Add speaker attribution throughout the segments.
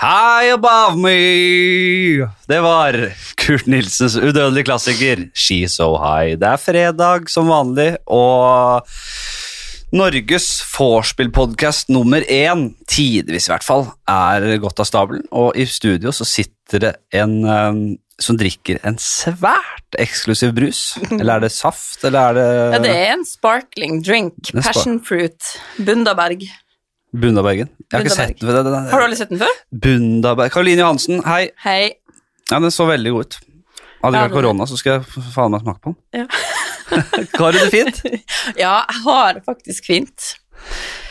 Speaker 1: High above me! Det var Kurt Nilsens udødelige klassiker She's So High. Det er fredag som vanlig, og Norges vorspiel-podkast nummer én, tidvis i hvert fall, er gått av stabelen. Og i studio så sitter det en eh, som drikker en svært eksklusiv brus. Eller er det saft, eller
Speaker 2: Ja,
Speaker 1: er
Speaker 2: det
Speaker 1: det
Speaker 2: er en sparkling drink.
Speaker 1: er spark-
Speaker 2: Passion fruit. Bundaberg.
Speaker 1: Bundabergen? Jeg har ikke sett
Speaker 2: Bundaberg.
Speaker 1: den. den- den-
Speaker 2: Har du aldri sett den før?
Speaker 1: Bundaberg Karoline Johansen, hei.
Speaker 2: Hei.
Speaker 1: Ja, den så veldig god ut. Hadde det
Speaker 2: Ja,
Speaker 1: ikke vært
Speaker 2: den-
Speaker 1: korona, så skulle jeg f- faen meg smake på den.
Speaker 2: Ja.
Speaker 1: Har du det fint?
Speaker 2: Ja, jeg har det faktisk fint.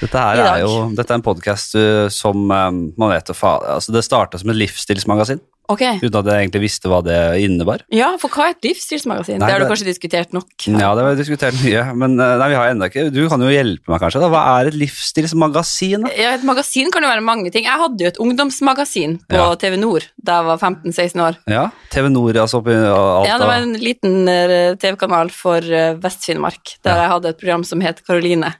Speaker 1: Dette her
Speaker 2: I dag.
Speaker 1: er jo dette er en podkast som um, man vet å faen altså Det starta som et livsstilsmagasin,
Speaker 2: Ok.
Speaker 1: uten at jeg egentlig visste hva det innebar.
Speaker 2: Ja, for hva er et livsstilsmagasin?
Speaker 1: Nei,
Speaker 2: det har du
Speaker 1: det-
Speaker 2: kanskje diskutert nok.
Speaker 1: Ja, det har vi diskutert mye, men uh, nei, vi har enda ikke Du kan jo hjelpe meg, kanskje. da. Hva er et livsstilsmagasin? da?
Speaker 2: Ja, et magasin kan jo være mange ting. Jeg hadde jo et ungdomsmagasin på
Speaker 1: Ja.
Speaker 2: TV Nord da jeg var 15-16 år.
Speaker 1: Ja, TV Nord, altså oppi Alta.
Speaker 2: Ja, det var en liten eh, TV-kanal for eh, Vest-Finnmark, der jeg hadde et program som het Karoline.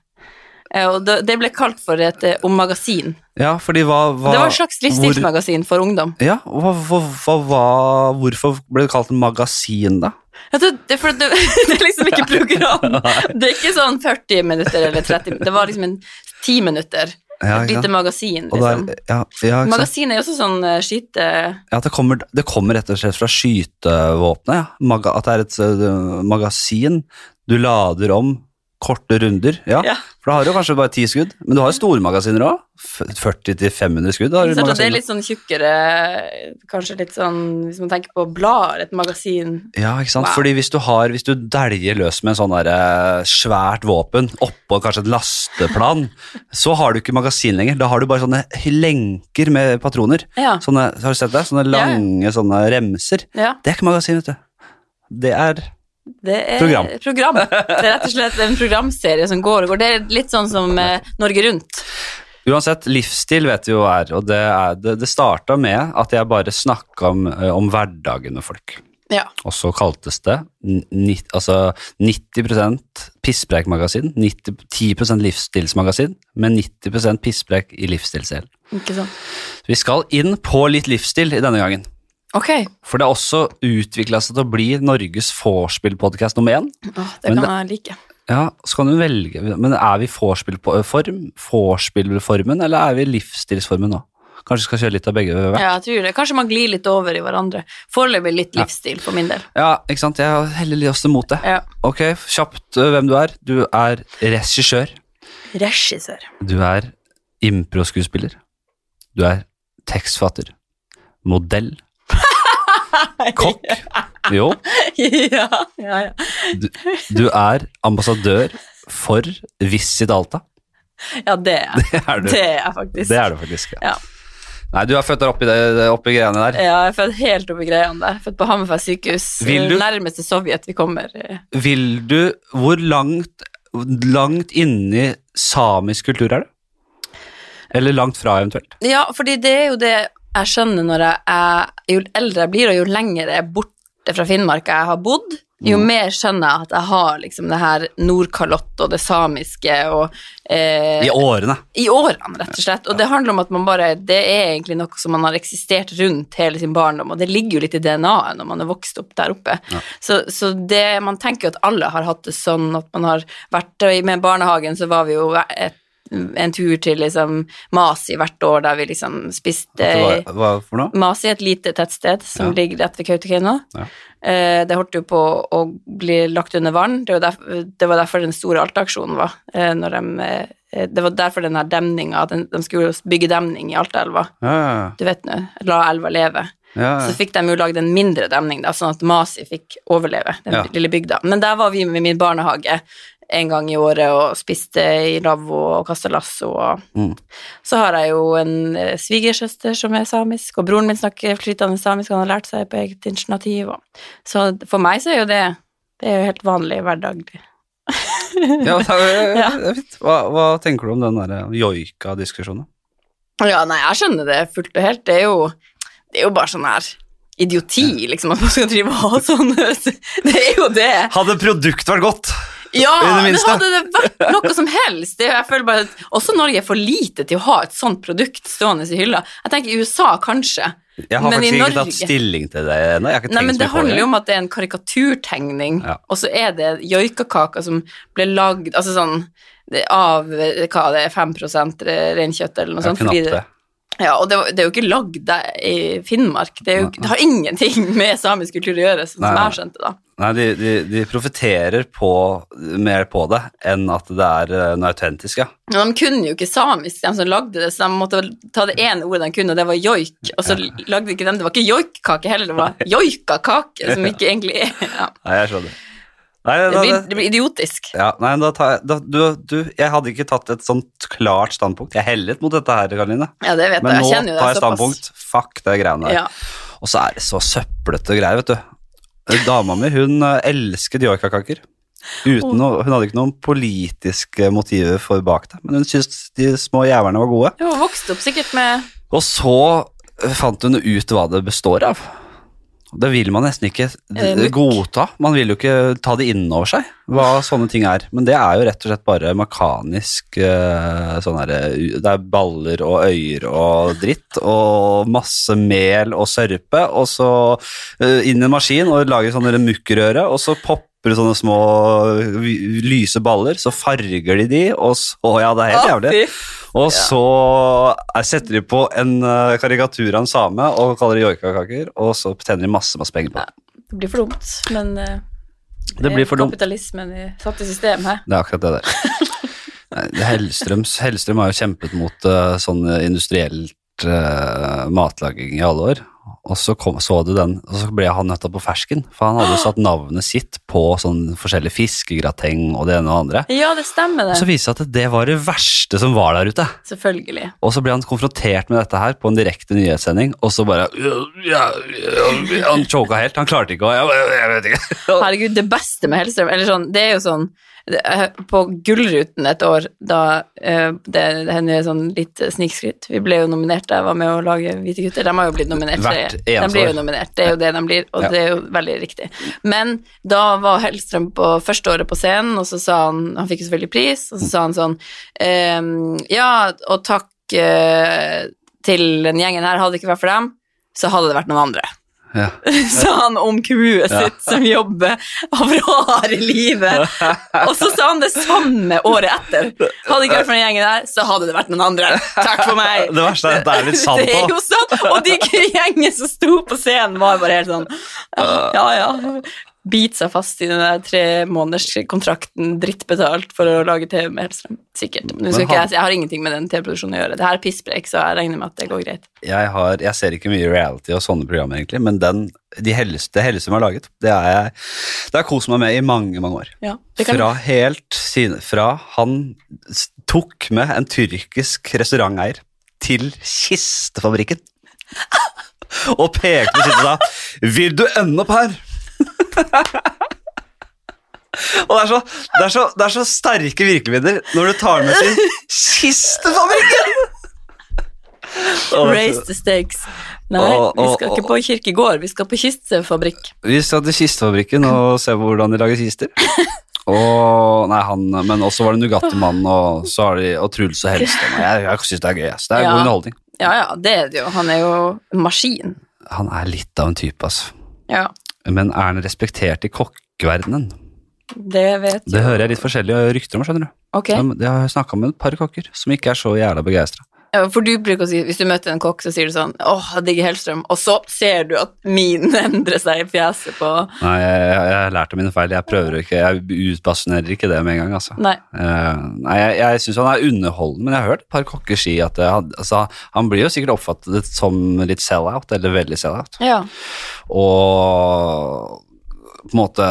Speaker 2: Eh, Og det det ble kalt for et eh, om-magasin.
Speaker 1: ja fordi hva, hva
Speaker 2: Det var et slags livsstilsmagasin for ungdom.
Speaker 1: Ja, hva, hva, hva, hva- Hvorfor ble det kalt en magasin, da?
Speaker 2: Ja, det, det, er for at det, det er liksom ikke program. Det er ikke sånn 40 minutter eller 30 minutter. Det var liksom en 10 minutter.
Speaker 1: Ja,
Speaker 2: Et
Speaker 1: ikke sant?
Speaker 2: lite magasin,
Speaker 1: Og da er-
Speaker 2: liksom.
Speaker 1: ja, ja, ikke sant?
Speaker 2: Magasin er jo også sånn uh, skite...
Speaker 1: Ja, at det kommer, det kommer rett og slett fra skytevåpenet. Ja. Maga, at det er et eh, magasin du lader om korte runder. Ja.
Speaker 2: Ja.
Speaker 1: For da har du jo kanskje bare ti skudd, men du har jo store magasiner òg. 40-500 skudd har du i
Speaker 2: Så det er
Speaker 1: magasiner.
Speaker 2: litt sånn tjukkere, kanskje litt sånn, hvis man tenker på blader, et magasin.
Speaker 1: Ja, ikke sant?
Speaker 2: Wow.
Speaker 1: Fordi hvis du, har, hvis du deljer løs med en sånn der, eh, svært våpen oppå kanskje et lasteplan, så har du ikke magasin lenger. Da har du bare sånne lenker med patroner.
Speaker 2: Ja,
Speaker 1: Sånne, har du sett det? Sånne
Speaker 2: Ja, ja.
Speaker 1: lange sånne remser.
Speaker 2: ja
Speaker 1: Det er ikke magasin, vet du. Det er
Speaker 2: det er
Speaker 1: Program.
Speaker 2: program. Det er rett og slett en programserie som går og går. Det er litt sånn som eh, Norge Rundt.
Speaker 1: Uansett, livsstil vet vi jo hva er, og det, er, det, det starta med at jeg bare snakka om, eh, om hverdagen med folk.
Speaker 2: Ja.
Speaker 1: Og så kaltes det n- nitt- altså 90 pisspreikmagasin, 90 10 livsstilsmagasin, men 90 pisspreik i livsstilsdelen.
Speaker 2: Ikke sant?
Speaker 1: Vi skal inn på litt livsstil i denne gangen.
Speaker 2: Ok,
Speaker 1: For det har også utvikla seg til å bli Norges vorspiel-podkast nummer én.
Speaker 2: Åh, det
Speaker 1: Men
Speaker 2: kan jeg like.
Speaker 1: Ja, så kan du velge, men er vi vorspiel-form, vorspiel-formen, eller er vi livsstilsformen nå? Kanskje vi skal kjøre litt av begge? hver?
Speaker 2: Ja, jeg tror det. Kanskje man glir litt over i hverandre. Foreløpig litt livsstil, for min del.
Speaker 1: Ja, ikke sant? Jeg heller litt mot det.
Speaker 2: Ja.
Speaker 1: Ok, kjapt ø, hvem du er. Du er regissør.
Speaker 2: Regissør.
Speaker 1: Du er improskuespiller. Du er tekstfatter. Modell. Kokk. Jo.
Speaker 2: ja, ja, ja.
Speaker 1: Du er ambassadør for Visit Alta.
Speaker 2: ja, det er jeg.
Speaker 1: Det er du.
Speaker 2: Det er jeg faktisk.
Speaker 1: Det er du faktisk.
Speaker 2: Ja.
Speaker 1: Nei, du er født der oppi, det, oppi greiene der.
Speaker 2: Ja, jeg er født helt oppi greiene der. Født på Hammerfest sykehus.
Speaker 1: Vil du-
Speaker 2: Nærmeste Sovjet vi kommer. eh.
Speaker 1: Vil du Hvor langt, langt inni samisk kultur er du? Eller langt fra, eventuelt?
Speaker 2: Ja, fordi det er jo det jeg skjønner når jeg er Jo eldre jeg blir, og jo lenger jeg er borte fra Finnmark jeg har bodd, jo
Speaker 1: Mm.
Speaker 2: mer skjønner jeg at jeg har liksom det her nordkalott og det samiske og eh,
Speaker 1: I årene.
Speaker 2: i årene, rett og slett. Og det handler om at man bare Det er egentlig noe som man har eksistert rundt hele sin barndom, og det ligger jo litt i DNA-et når man er vokst opp der oppe. Så, så det Man tenker jo at alle har hatt det sånn at man har vært og i- Med barnehagen så var vi jo et, en tur til liksom Masi hvert år, der vi liksom spiste
Speaker 1: Hva, hva for noe?
Speaker 2: Masi er et lite tettsted som
Speaker 1: Ja.
Speaker 2: ligger rett ved Kautokeino.
Speaker 1: Ja.
Speaker 2: Eh, det holdt jo på å bli lagt under vann. Det var derfor, det var derfor den store Alta-aksjonen var. Eh, når de, eh, det var derfor den her demninga den, De skulle jo bygge demning i Altaelva.
Speaker 1: Ja,
Speaker 2: Du vet nå, la elva leve.
Speaker 1: ja, ja.
Speaker 2: Så fikk de jo lagd en mindre demning, da, sånn at Masi fikk overleve, den
Speaker 1: Ja.
Speaker 2: lille bygda. Men der var vi med min barnehage en gang i året og spiste i lavvo og kasta lasso. Og...
Speaker 1: Mm.
Speaker 2: Så har jeg jo en eh, svigersøster som er samisk, og broren min snakker flytende samisk, han har lært seg på eget initiativ. Og... Så for meg så er jo det det er jo helt vanlig hverdag.
Speaker 1: Ja, det er-
Speaker 2: Ja.
Speaker 1: det er fint. Hva, hva tenker du om den der joika-diskusjonen?
Speaker 2: Ja, nei, jeg skjønner det fullt og helt. Det er jo, det er jo bare sånn her idioti, liksom, at man skal drive og ha sånn. Det er jo det.
Speaker 1: Hadde produktet vært godt?
Speaker 2: Ja,
Speaker 1: I det
Speaker 2: men
Speaker 1: minste.
Speaker 2: hadde det vært noe som helst det, Jeg føler bare at også Norge er for lite til å ha et sånt produkt stående i hylla. Jeg tenker i USA kanskje.
Speaker 1: Jeg har
Speaker 2: Men i
Speaker 1: faktisk ikke
Speaker 2: Norge-
Speaker 1: tatt stilling til det ennå. Jeg har ikke
Speaker 2: Nei, men
Speaker 1: tenkt så
Speaker 2: Det
Speaker 1: mye på
Speaker 2: handler
Speaker 1: det.
Speaker 2: jo om at det er en karikaturtegning,
Speaker 1: Ja.
Speaker 2: og så er det joikakaker som ble lagd altså sånn, det- av eh, hva det er, 5 re- reinkjøtt eller noe
Speaker 1: Jeg har
Speaker 2: sånt. sånn fordi
Speaker 1: knapt
Speaker 2: det-
Speaker 1: det.
Speaker 2: Ja, og det, var- det er jo ikke lagd der i Finnmark. Det, er jo, det har ingenting med samisk kultur å gjøre, sånn
Speaker 1: Nei,
Speaker 2: som jeg
Speaker 1: nei.
Speaker 2: har skjønt det. da.
Speaker 1: Nei, de, de, de profiterer på, mer på det enn at det er eh, noe autentisk, ja.
Speaker 2: Men de kunne jo ikke samisk, de som lagde det, så de måtte vel ta det ene ordet de kunne, og det var joik. Og så lagde ikke de Det var ikke joikkake heller, det var joikakake, som ikke egentlig er ja.
Speaker 1: Nei, jeg skjønner. Nei,
Speaker 2: det,
Speaker 1: da,
Speaker 2: blir,
Speaker 1: det,
Speaker 2: det blir idiotisk.
Speaker 1: ja, nei, da tar jeg da, du, du, jeg hadde ikke tatt et sånt klart standpunkt. Jeg hellet mot dette her, Karoline.
Speaker 2: Ja, det vet
Speaker 1: Men
Speaker 2: jeg.
Speaker 1: nå
Speaker 2: Jeg kjenner jo det
Speaker 1: tar jeg standpunkt. Fuck det greiene der.
Speaker 2: Ja.
Speaker 1: Og så er det så søplete greier, vet du. Dama mi hun eh, elsket joikakaker. Uten noe, hun hadde ikke noen politiske motiver for bak det, men hun syntes de små jævlene var gode.
Speaker 2: Jeg var vokst opp sikkert med
Speaker 1: Og så eh, fant hun ut hva det består av. Det vil man nesten ikke
Speaker 2: det
Speaker 1: d-
Speaker 2: møkk?
Speaker 1: godta. Man vil jo ikke ta det innover seg, hva sånne ting er. Men det er jo rett og slett bare mekanisk eh, sånn her, eh, Det er baller og øyer og dritt og masse mel og sørpe, og så eh, inn i en maskin og lage sånne der mukkrøre, og så popper det sånne små eh, vi- lyse baller, så farger de de, og så Ja, det er helt jævlig.
Speaker 2: Å, fy
Speaker 1: Og så er- setter de på en eh, karikatur av en same og kaller det joikakaker, og så tjener de masse, masse penger på det.
Speaker 2: Det blir for dumt, men eh,
Speaker 1: Det blir for dumt.
Speaker 2: kapitalismen er satt i system her.
Speaker 1: Det er akkurat det der. Nei, det er Hellstrøms, Hellstrøm har jo kjempet mot eh, sånn industrielt eh, matlaging i alle år. Og så kom, så du den, og så ble han nøtta på fersken, for han hadde jo satt navnet sitt på sånn forskjellige fiskegrateng og det ene og det andre.
Speaker 2: Ja, det stemmer,
Speaker 1: Og så
Speaker 2: det.
Speaker 1: viste det seg at det var det verste som var der ute.
Speaker 2: Selvfølgelig.
Speaker 1: Og så ble han konfrontert med dette her på en direkte nyhetssending, og så bare ja, ja, ja, Han choka helt. Han klarte ikke å jeg, jeg vet ikke.
Speaker 2: Herregud, det beste med Hellstrøm eller sånn, Det er jo sånn det er- På Gullruten et år, da eh, Det, det hender jo sånn litt snikskryt. Vi ble jo nominert da jeg var med å lage Hvite gutter. De har jo blitt nominert.
Speaker 1: Hvert
Speaker 2: det-
Speaker 1: eneste
Speaker 2: de blir
Speaker 1: år.
Speaker 2: jo nominert. Det er jo det de blir, og
Speaker 1: Ja.
Speaker 2: det er jo veldig riktig. Men da var Hellstrøm på første året på scenen, og så sa han Han fikk jo selvfølgelig pris, og så sa han sånn ehm, Ja, og takk eh, til den gjengen her. Hadde det ikke vært for dem, så hadde det vært noen andre
Speaker 1: Ja.
Speaker 2: sa han om crewet sitt som jobber over harde livet. Og så sa han det samme året etter. Hadde det ikke vært for den gjengen der, så hadde det vært noen andre. Takk for meg.
Speaker 1: Det verste er at det er litt sant
Speaker 2: Det er
Speaker 1: òg.
Speaker 2: jo sant, og de gjengen som sto på scenen, var bare helt sånn Ja, ja. Bit seg fast i den der tre måneders kontrakten, drittbetalt for å lage TV med Hellstrøm. Sikkert. Men nå
Speaker 1: Men
Speaker 2: skal ikke
Speaker 1: han-
Speaker 2: jeg, jeg har ingenting med den TV-produksjonen å gjøre. Det her er pisspreik, så jeg regner med at det går greit.
Speaker 1: Jeg, har- jeg ser ikke mye reality og sånne programmer, egentlig, men den, de helleste, det helleste som er laget, det er jeg Det har jeg kost meg med i mange, mange år.
Speaker 2: Ja, det kan
Speaker 1: Fra helt sine Fra han s- tok med en tyrkisk restauranteier til kistefabrikken og pekte på kista og sa 'Vil du ende opp her?' Og det er, så, det, er så, det er så sterke virkeligheter når du tar med til kistefabrikken! Og-
Speaker 2: Raise the stakes. Nei,
Speaker 1: Åh,
Speaker 2: vi
Speaker 1: åh,
Speaker 2: skal
Speaker 1: åh.
Speaker 2: ikke på kirkegård, vi skal på kistefabrikk.
Speaker 1: Vi skal til kistefabrikken og se på hvordan de lager kister. Og, nei, han, men også var det Nugatti-mannen og, så har de- og Truls og Helstad. Jeg, jeg syns det er gøy. ass. Det er
Speaker 2: Ja.
Speaker 1: god underholdning.
Speaker 2: Ja, ja, det er det jo. Han er jo en maskin.
Speaker 1: Han er litt av en type, altså.
Speaker 2: Ja,
Speaker 1: Men er han respektert i kokkeverdenen?
Speaker 2: det vet
Speaker 1: Det hører jeg litt forskjellige rykter om, skjønner du.
Speaker 2: Ok,
Speaker 1: Men Jeg har snakka med et par kokker som ikke er så jævla begeistra.
Speaker 2: Ja, for du bruker å si, hvis du møter en kokk, så sier du sånn, åh, jeg digger Hellstrøm, og så ser du at minen endrer seg i fjeset på...
Speaker 1: Nei, jeg, jeg, jeg har lært av mine feil. Jeg prøver ikke, jeg utbasunerer ikke det med en gang, altså.
Speaker 2: Nei,
Speaker 1: Eh, nei, jeg, jeg syns han er underholdende, men jeg har hørt et par kokker si at eh, han, altså, han blir jo sikkert oppfattet som litt sell-out, eller veldig sell-out.
Speaker 2: ja.
Speaker 1: Og på en måte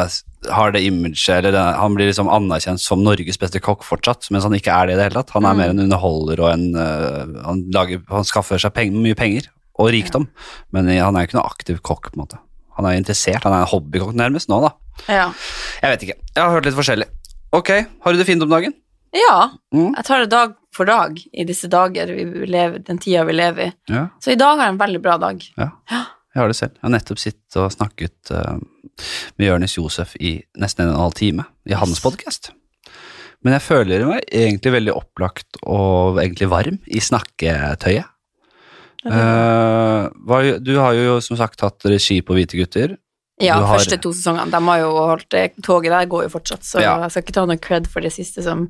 Speaker 1: har det imaget, eller det, han blir liksom anerkjent som Norges beste kokk fortsatt, mens han ikke er det i det hele tatt. Han er mer en underholder og en eh, han, lager, han skaffer seg peng, mye penger og rikdom, men eh, han er jo ikke noen aktiv kokk, på en måte. Han er interessert, han er en hobbykokk nærmest nå, da.
Speaker 2: Ja.
Speaker 1: Jeg vet ikke. Jeg har hørt litt forskjellig. Ok, har du det fint om dagen?
Speaker 2: ja,
Speaker 1: Mm.
Speaker 2: jeg tar det dag for dag i disse dager vi lever, den tiden vi lever i.
Speaker 1: Ja.
Speaker 2: Så i dag har jeg en veldig bra dag.
Speaker 1: Ja, jeg har det selv. Jeg har nettopp sittet og snakket eh, med Jørnis Josef i nesten en og en halv time i hans podkast. Men jeg føler meg egentlig veldig opplagt og egentlig varm i snakketøyet. Eh, hva- du har jo som sagt hatt regi på Hvite gutter.
Speaker 2: Ja,
Speaker 1: Du har-
Speaker 2: første to sesongene. De har jo holdt det Toget der går jo fortsatt, så
Speaker 1: Ja.
Speaker 2: jeg skal ikke ta noe cred for det siste som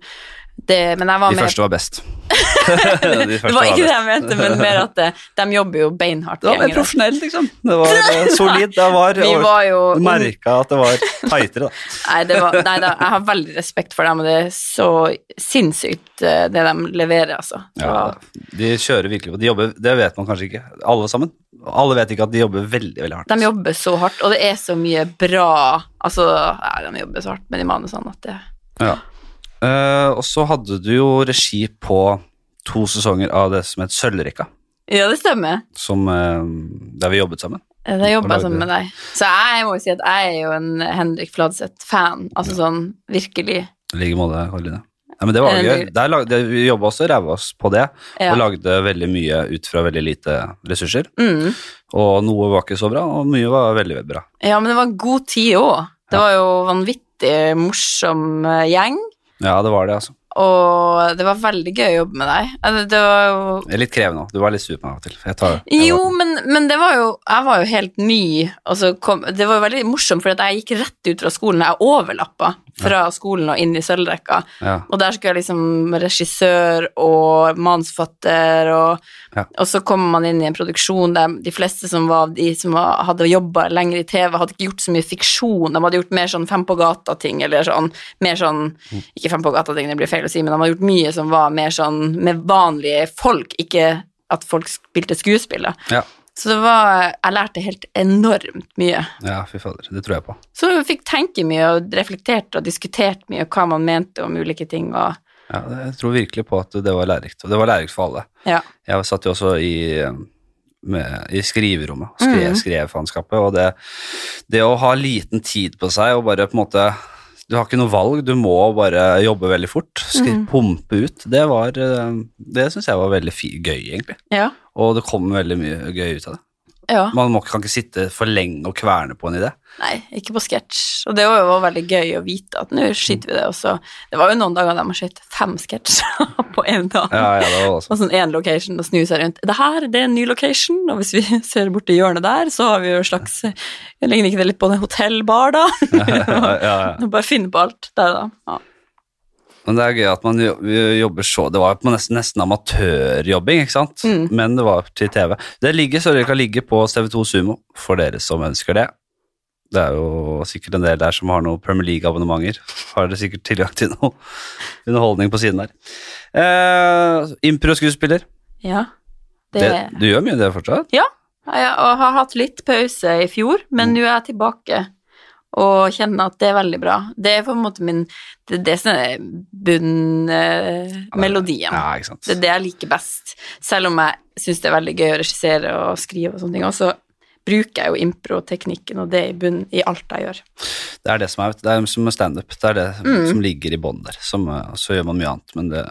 Speaker 2: det, Men jeg var
Speaker 1: De
Speaker 2: med
Speaker 1: første var best. De første
Speaker 2: Det var ikke det
Speaker 1: best.
Speaker 2: jeg mente, men mer at eh, de jobber jo beinhardt.
Speaker 1: Det var mer
Speaker 2: gjengen.
Speaker 1: profesjonelt, liksom. Det var eh, solid. Det var,
Speaker 2: Vi var jo
Speaker 1: Merka at det var tightere, da.
Speaker 2: Nei, det var, nei da, jeg har veldig respekt for dem, og det er så sinnssykt eh, det de leverer, altså.
Speaker 1: Ja, de kjører virkelig på. De jobber, det vet man kanskje ikke, alle sammen. Alle vet ikke at de jobber veldig, veldig hardt.
Speaker 2: De jobber så hardt, og det er så mye bra Altså, ja, de jobber så hardt med de manusene at det
Speaker 1: Ja. Eh, og så hadde du jo regi på to sesonger av det som het Sølvrekka,
Speaker 2: Ja, det stemmer.
Speaker 1: som, eh, der vi jobbet sammen.
Speaker 2: Det jobber jeg
Speaker 1: Lagde-
Speaker 2: sammen med deg. Så jeg må jo si at jeg er jo en Henrik Fladseth-fan. Altså sånn virkelig.
Speaker 1: I like måte, Karoline. Ja, men det var
Speaker 2: Eh,
Speaker 1: gøy.
Speaker 2: det-
Speaker 1: Der lagde, vi jobba også, ræva oss på det,
Speaker 2: Ja.
Speaker 1: og lagde veldig mye ut fra veldig lite ressurser.
Speaker 2: Mm.
Speaker 1: Og noe var ikke så bra, og mye var veldig bra.
Speaker 2: Ja, men det var en god tid òg. Det var jo vanvittig morsom eh, gjeng,
Speaker 1: Ja, det var det, altså.
Speaker 2: og det var veldig gøy å jobbe med deg. Altså, Det var jo
Speaker 1: Jeg er litt krevende òg. Du var litt sur på meg av og til. Jeg tar, jeg
Speaker 2: Jo,
Speaker 1: var-
Speaker 2: men, men det var jo Jeg var jo helt ny, og så kom Det var jo veldig morsomt, for jeg gikk rett ut fra skolen. Jeg overlappa fra skolen og inn i sølvrekka.
Speaker 1: ja.
Speaker 2: Og der skulle jeg liksom regissør og manusforfatter, og,
Speaker 1: Ja.
Speaker 2: og så kommer man inn i en produksjon der de fleste som, var, av de som var, hadde jobba lenger i TV, hadde ikke gjort så mye fiksjon. De hadde gjort mer sånn Fem på gata-ting, eller sånn mer sånn Ikke Fem på gata-ting, det blir feil å si, men de hadde gjort mye som var mer sånn med vanlige folk, ikke at folk spilte skuespill. da.
Speaker 1: Ja.
Speaker 2: Så det var Jeg lærte helt enormt mye.
Speaker 1: ja, fy fader. Det tror jeg på.
Speaker 2: Så jeg fikk tenke mye og reflektert og diskutert mye og hva man mente om ulike ting. og
Speaker 1: Ja, det- jeg tror virkelig på at det var lærerikt. Og det var lærerikt for alle.
Speaker 2: ja.
Speaker 1: Jeg satt jo også i, eh, med, i skriverommet, skrev,
Speaker 2: Mhm.
Speaker 1: skrevefanskapet, og det, det å ha liten tid på seg og bare på en måte Du har ikke noe valg, du må bare jobbe veldig fort. Skri, Pumpe ut. Det var eh, Det syns jeg var veldig fi, gøy, egentlig.
Speaker 2: Ja.
Speaker 1: Og det kom veldig mye gøy ut av det.
Speaker 2: ja.
Speaker 1: Man må, kan ikke sitte for lenge og kverne på en idé.
Speaker 2: Nei, ikke på sketsj. Og det var jo veldig gøy å vite at nå skiter vi det. Og så, det var jo noen dager der man skøyt fem sketsjer på én dag.
Speaker 1: Ja, ja, det var også.
Speaker 2: Og sånn én location og snu seg rundt. Det her, det er en ny location, og hvis vi ser borti hjørnet der, så har vi jo en slags Ligner ikke det litt på en hotellbar, da?
Speaker 1: ja, ja, ja.
Speaker 2: Og Bare finne på alt der, da. Ja.
Speaker 1: Men det er gøy at man jo- jobber så Det var på nesten, nesten amatørjobbing, ikke sant?
Speaker 2: Mm.
Speaker 1: Men det var til TV. Det ligger, så dere kan ligge på TV2 Sumo, for dere som ønsker det. Det er jo sikkert en del der som har noen Premier League-abonnementer. Har dere sikkert tilgang til noe underholdning på siden der. Eh, Impro-skuespiller.
Speaker 2: ja. Det,
Speaker 1: Det, du gjør mye av det fortsatt?
Speaker 2: Ja, ja, og har hatt litt pause i fjor, men nå er jeg tilbake og kjenner at det er veldig bra. Det er på en måte min Det, det som er bunnmelodien.
Speaker 1: Ja, ikke sant.
Speaker 2: det er det jeg liker best. Selv om jeg syns det er veldig gøy å regissere og skrive og sånne ting, og så bruker jeg jo improteknikken og det i bunnen i alt jeg gjør.
Speaker 1: Det er det som er, det er som med standup. Det er det
Speaker 2: Mm.
Speaker 1: som ligger i bånn der. Som, eh, så gjør man mye annet, men det,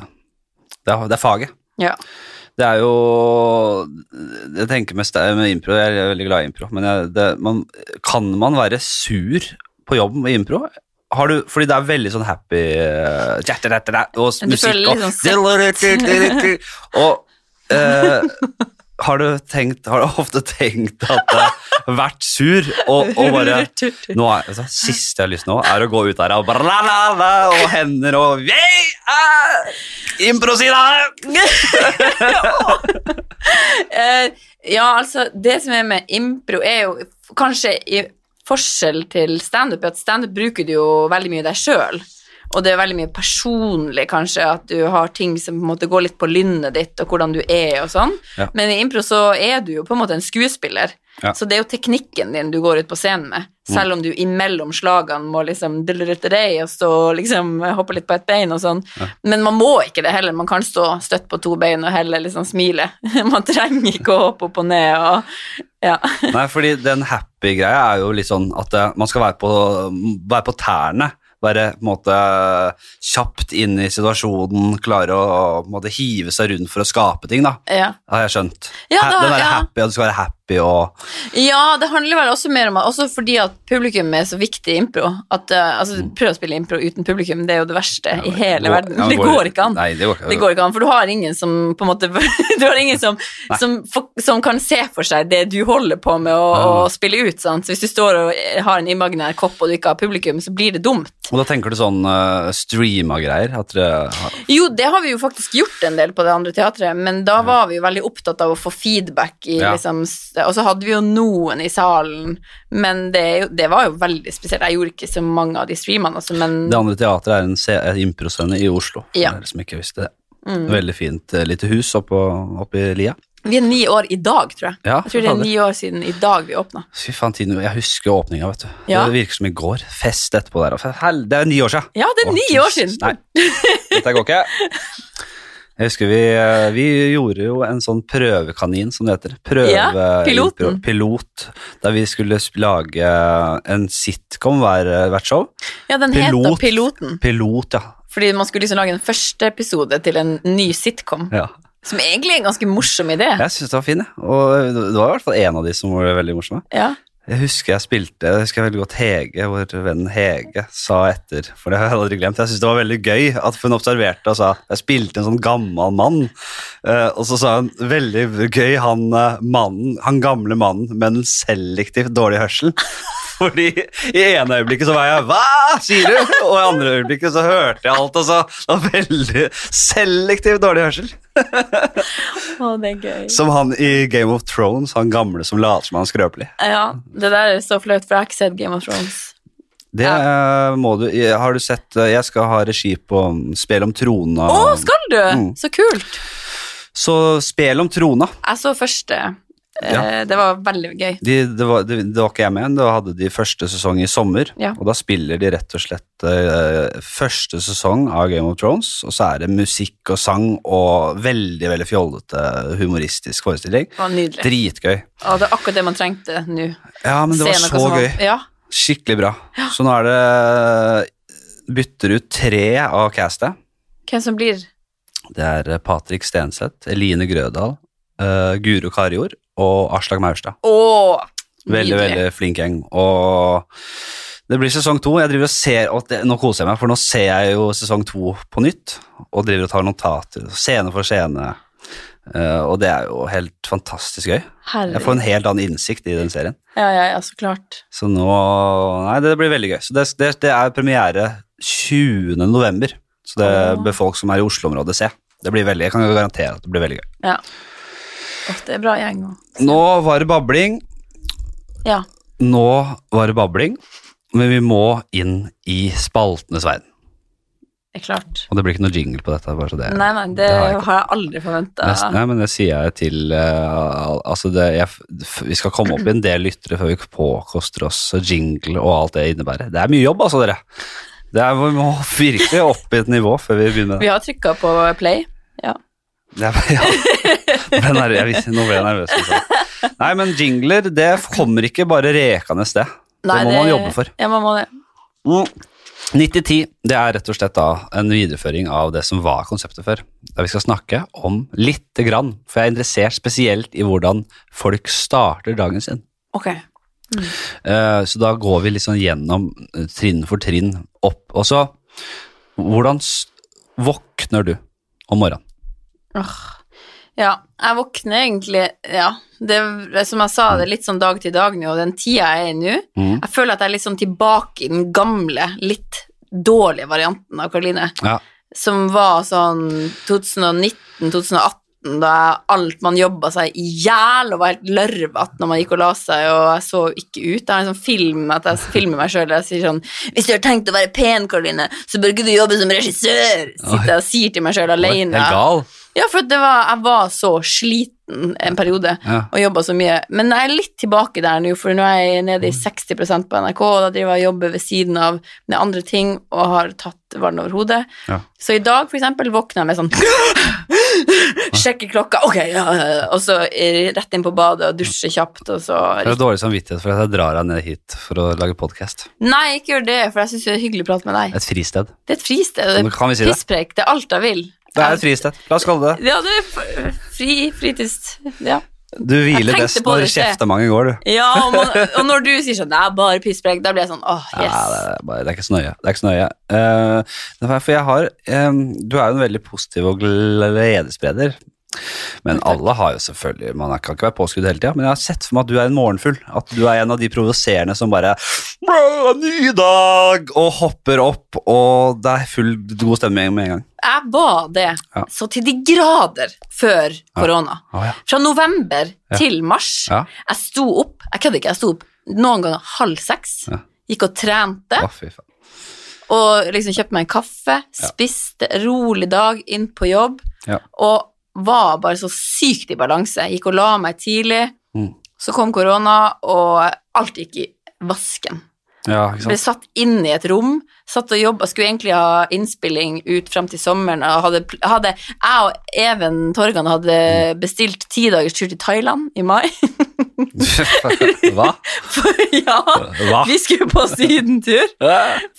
Speaker 1: det, er, det er faget.
Speaker 2: Ja.
Speaker 1: Det er jo Jeg tenker med, sta- med impro, jeg er veldig glad i impro, men jeg, det, man, kan man være sur på jobb med impro? Har du, fordi det er veldig sånn happy eh, tja, tja, tja, tja, Og s-
Speaker 2: Du føler
Speaker 1: musikk
Speaker 2: litt
Speaker 1: og
Speaker 2: sånn
Speaker 1: Og eh, har du tenkt Har du ofte tenkt at eh, Vært sur og, og bare nå er, altså, siste jeg har lyst nå, er å gå ut der og, bralalala, og hender og ah, «Jeg er Impro-sida!
Speaker 2: Eh, ja, altså, det som er med impro, er jo f- kanskje i forskjell til standup, er at standup bruker du jo veldig mye deg sjøl. Og det er veldig mye personlig, kanskje, at du har ting som på en måte går litt på lynnet ditt, og hvordan du er og sånn.
Speaker 1: Ja.
Speaker 2: Men i impro så er du jo på en måte en skuespiller.
Speaker 1: Ja.
Speaker 2: Så det er jo teknikken din du går ut på scenen med. Selv om du imellom slagene må liksom dullerutterei og stå og liksom hoppe litt på ett bein og sånn. Men man må ikke det heller. Man kan stå støtt på to bein og heller liksom smile. Man trenger ikke å hoppe opp og ned og Ja.
Speaker 1: Nei, fordi den happy greia er jo litt sånn at eh, man skal være på, være på tærne. Være på en måte kjapt inn i situasjonen, klare å på en måte, hive seg rundt for å skape ting, da.
Speaker 2: Ja,
Speaker 1: Har jeg skjønt.
Speaker 2: Ja,
Speaker 1: Ha-
Speaker 2: det har-
Speaker 1: den der
Speaker 2: ja.
Speaker 1: happy, at du skal være happy, happy og
Speaker 2: Ja, det handler vel også mer om at, Også fordi at publikum er så viktig i impro. At, eh, altså, prøv å spille impro uten publikum, det er jo det verste i hele
Speaker 1: Gå-
Speaker 2: verden.
Speaker 1: Ja,
Speaker 2: det går ikke an.
Speaker 1: Nei, det går ikke an.
Speaker 2: Det går ikke an, for du har ingen som på en måte Du har ingen som, som, for- som kan se for seg det du holder på med å,
Speaker 1: Ah.
Speaker 2: å spille ut. Sant? Så hvis du står og har en imaginær kopp og du ikke har publikum, så blir det dumt.
Speaker 1: Og da tenker du sånn uh, streama greier? At dere har
Speaker 2: Jo, det har vi jo faktisk gjort en del på det andre teatret, men da var vi jo veldig opptatt av å få feedback i
Speaker 1: Ja.
Speaker 2: liksom s- Og så hadde vi jo noen i salen, men det, er jo- det var jo veldig spesielt. Jeg gjorde ikke så mange av de streamene, altså, men
Speaker 1: Det andre teatret er en se- et improscene i Oslo.
Speaker 2: Ja. Mm.
Speaker 1: For dere som ikke visste det. Veldig fint eh, lite hus oppå, oppi lia.
Speaker 2: vi er ni år i dag, tror jeg.
Speaker 1: Ja,
Speaker 2: Jeg tror det er ni år siden i dag vi åpna.
Speaker 1: Fy faen, tiden, jeg husker åpninga, vet du.
Speaker 2: Ja.
Speaker 1: Det virker som i går. Fest etterpå der. og for hel- Det er ni år siden.
Speaker 2: Ja, det er
Speaker 1: Å,
Speaker 2: ni år
Speaker 1: Jesus,
Speaker 2: siden!
Speaker 1: Nei, dette går ikke. Jeg husker vi, eh, vi gjorde jo en sånn prøvekanin, som det heter. Prøve,
Speaker 2: Ja, piloten.
Speaker 1: impro- Pilot. Der vi skulle sp- lage en sitcom hver, eh, hvert show.
Speaker 2: Ja, den heter
Speaker 1: Pilot.
Speaker 2: Piloten,
Speaker 1: Pilot, ja.
Speaker 2: fordi man skulle liksom lage en første episode til en ny sitcom,
Speaker 1: ja.
Speaker 2: som egentlig er en ganske morsom idé.
Speaker 1: Jeg syns det var fin, jeg. Og det var i hvert fall en av de som var veldig morsomme.
Speaker 2: Ja.
Speaker 1: Jeg husker jeg spilte jeg husker veldig godt Hege, vår venn Hege, sa etter. For det har jeg aldri glemt. Jeg syntes det var veldig gøy at hun observerte og sa Jeg spilte en sånn gammel mann. Eh, og så sa hun veldig gøy, han eh, mannen, han gamle mannen med en selektivt dårlig hørsel. Fordi i ene øyeblikket så var jeg Hva sier du? Og i andre øyeblikket så hørte jeg alt, og så det var veldig selektivt dårlig hørsel.
Speaker 2: Å, det er gøy.
Speaker 1: Som han i Game of Thrones, han gamle som later som han er skrøpelig.
Speaker 2: Ja, det der er så flaut, for jeg har ikke sett Game of Thrones.
Speaker 1: Det eh, må du Har du sett eh, Jeg skal ha regi på mm, Spel om trona.
Speaker 2: Å, skal du?
Speaker 1: Mm.
Speaker 2: Så kult.
Speaker 1: Så Spel om trona
Speaker 2: Jeg så første. Eh,
Speaker 1: Ja.
Speaker 2: Det var veldig gøy.
Speaker 1: de, det, var, det, det var ikke jeg med, da hadde de første sesong i sommer.
Speaker 2: Ja.
Speaker 1: Og da spiller de rett og slett eh, første sesong av Game of Thrones, og så er det musikk og sang og veldig veldig fjollete humoristisk forestilling.
Speaker 2: Det var nydelig.
Speaker 1: Dritgøy.
Speaker 2: Og det er akkurat det man trengte nå.
Speaker 1: Ja, men det
Speaker 2: Se
Speaker 1: var
Speaker 2: noe
Speaker 1: så
Speaker 2: som var-
Speaker 1: gøy.
Speaker 2: Ja.
Speaker 1: Skikkelig bra. Så nå er det eh, Bytter ut tre av castet.
Speaker 2: Hvem som blir
Speaker 1: Det er Patrik Stenseth, Eline Grødal, eh, Guro Karjord og Aslak Maurstad.
Speaker 2: Å!
Speaker 1: Veldig,
Speaker 2: nydelig.
Speaker 1: veldig flink gjeng. Og det blir sesong to. Jeg driver og ser, og det, Nå koser jeg meg, for nå ser jeg jo sesong to på nytt. Og driver og tar notater, scene for scene. Eh, og det er jo helt fantastisk gøy. Jeg får
Speaker 2: Herregud.
Speaker 1: en helt annen innsikt i den serien.
Speaker 2: Ja, ja, ja, så klart.
Speaker 1: Så nå Nei, det blir veldig gøy. Så det, det, det er premiere 20. november. Så det
Speaker 2: Åh.
Speaker 1: bør folk som er i Oslo-området se. Det blir veldig, jeg kan garantere at det blir veldig gøy.
Speaker 2: Ja. Å, det er bra gjeng òg.
Speaker 1: Nå var det babling.
Speaker 2: Ja.
Speaker 1: Nå var det babling. Men vi må inn i spaltenes verden.
Speaker 2: Det er klart.
Speaker 1: Og det blir ikke noe jingle på dette. bare så det.
Speaker 2: Nei, nei,
Speaker 1: Det
Speaker 2: det,
Speaker 1: har jeg ikke.
Speaker 2: har jeg aldri forventa.
Speaker 1: Nesten, nei, men det sier jeg til eh, Altså, det, jeg, f- vi skal komme opp i en del lyttere før vi påkoster oss jingle og alt det innebærer. Det er mye jobb, altså, dere. Det er, vi må virkelig opp i et nivå før vi begynner.
Speaker 2: Vi har trykka på play. Ja.
Speaker 1: Ja, ja. Ble nerv- jeg visste, nå ble jeg nervøs. liksom. Nei, men jingler, det kommer ikke bare rekende sted. Det
Speaker 2: Nei,
Speaker 1: må man jobbe for.
Speaker 2: Ja, man må det.
Speaker 1: Mm. 90-10, det er rett og slett da en videreføring av det som var konseptet før. Der vi skal snakke om lite grann, for jeg er interessert spesielt i hvordan folk starter dagen sin.
Speaker 2: Ok.
Speaker 1: Eh, Så da går vi liksom gjennom eh, trinn for trinn opp. Og så, hvordan s- våkner du om morgenen?
Speaker 2: Åh. Ja, jeg våkner egentlig Ja, det er som jeg sa, det er litt sånn dag til dag nå, og den tida jeg er i nå
Speaker 1: Mm.
Speaker 2: Jeg føler at jeg er litt sånn tilbake i den gamle, litt dårlige varianten av Karoline,
Speaker 1: Ja,
Speaker 2: som var sånn 2019-2018, da jeg- alt man jobba seg i hjel og var helt lørvete når man gikk og la seg, og jeg så jo ikke ut. Jeg har en sånn film at jeg filmer meg sjøl og jeg sier sånn Hvis du har tenkt å være pen, Karoline, så bør ikke du jobbe som regissør! Sitter jeg og sier til meg sjøl
Speaker 1: helt
Speaker 2: aleine.
Speaker 1: gal.
Speaker 2: Ja, for det var, jeg var så sliten en periode
Speaker 1: Ja.
Speaker 2: og jobba så mye. Men jeg er litt tilbake der nå, for nå er jeg nede i
Speaker 1: Mm.
Speaker 2: 60 på NRK, og da driver jeg og jobber ved siden av med andre ting og har tatt vann over hodet.
Speaker 1: Ja.
Speaker 2: Så i dag, for eksempel, våkner jeg med sånn Sjekker klokka, ok, ja, ja, og så eh, rett inn på badet og dusje kjapt, og så
Speaker 1: Jeg har dårlig samvittighet for at jeg drar deg ned hit for å lage podkast.
Speaker 2: Nei, ikke gjør det, for jeg syns det er hyggelig å prate med deg.
Speaker 1: Et fristed.
Speaker 2: Det er et fristed, og
Speaker 1: Nå
Speaker 2: det
Speaker 1: kan vi si
Speaker 2: er
Speaker 1: det.
Speaker 2: pisspreik, det er alt jeg vil.
Speaker 1: Det er et fristed. La oss kalle det det.
Speaker 2: Ja, det er fri, fritid. Ja.
Speaker 1: Du hviler
Speaker 2: tenkte
Speaker 1: best
Speaker 2: på
Speaker 1: når
Speaker 2: det, se.
Speaker 1: kjeftemange går, du.
Speaker 2: Ja, og, man, og når du sier sånn, det er bare pisspreik, da blir jeg sånn, åh, yes.
Speaker 1: Ja, det, er bare, det er ikke så nøye. Det er ikke så nøye. Eh, det er for jeg har eh, Du er jo en veldig positiv og gledesspreder. Men alle har jo selvfølgelig Man kan ikke være påskudd hele tida, men jeg har sett for meg at du er en morgenfugl. At du er en av de provoserende som bare «Brå, Ny dag! Og hopper opp, og det er full god stemning med en gang.
Speaker 2: Jeg var det
Speaker 1: Ja.
Speaker 2: så til de grader før korona.
Speaker 1: Å, ja.
Speaker 2: Fra november
Speaker 1: Ja.
Speaker 2: til mars.
Speaker 1: Ja.
Speaker 2: Jeg sto opp, jeg kødder ikke, jeg sto opp noen ganger halv seks.
Speaker 1: Ja.
Speaker 2: Gikk og trente,
Speaker 1: Å, fy faen.
Speaker 2: og liksom kjøpte meg en kaffe, spiste, rolig dag, inn på jobb,
Speaker 1: Ja.
Speaker 2: og var bare så sykt i balanse. Gikk og la meg tidlig,
Speaker 1: Mm.
Speaker 2: så kom korona, og alt gikk i vasken.
Speaker 1: Ja, ikke
Speaker 2: Ble
Speaker 1: sant?
Speaker 2: satt inn i et rom, satt og jobba, skulle egentlig ha innspilling ut fram til sommeren. Og hadde, hadde, jeg og Even Torgan hadde
Speaker 1: Mm.
Speaker 2: bestilt ti dagers tur til Thailand i mai.
Speaker 1: Hva?
Speaker 2: For ja,
Speaker 1: Hva?
Speaker 2: vi skulle på sydentur.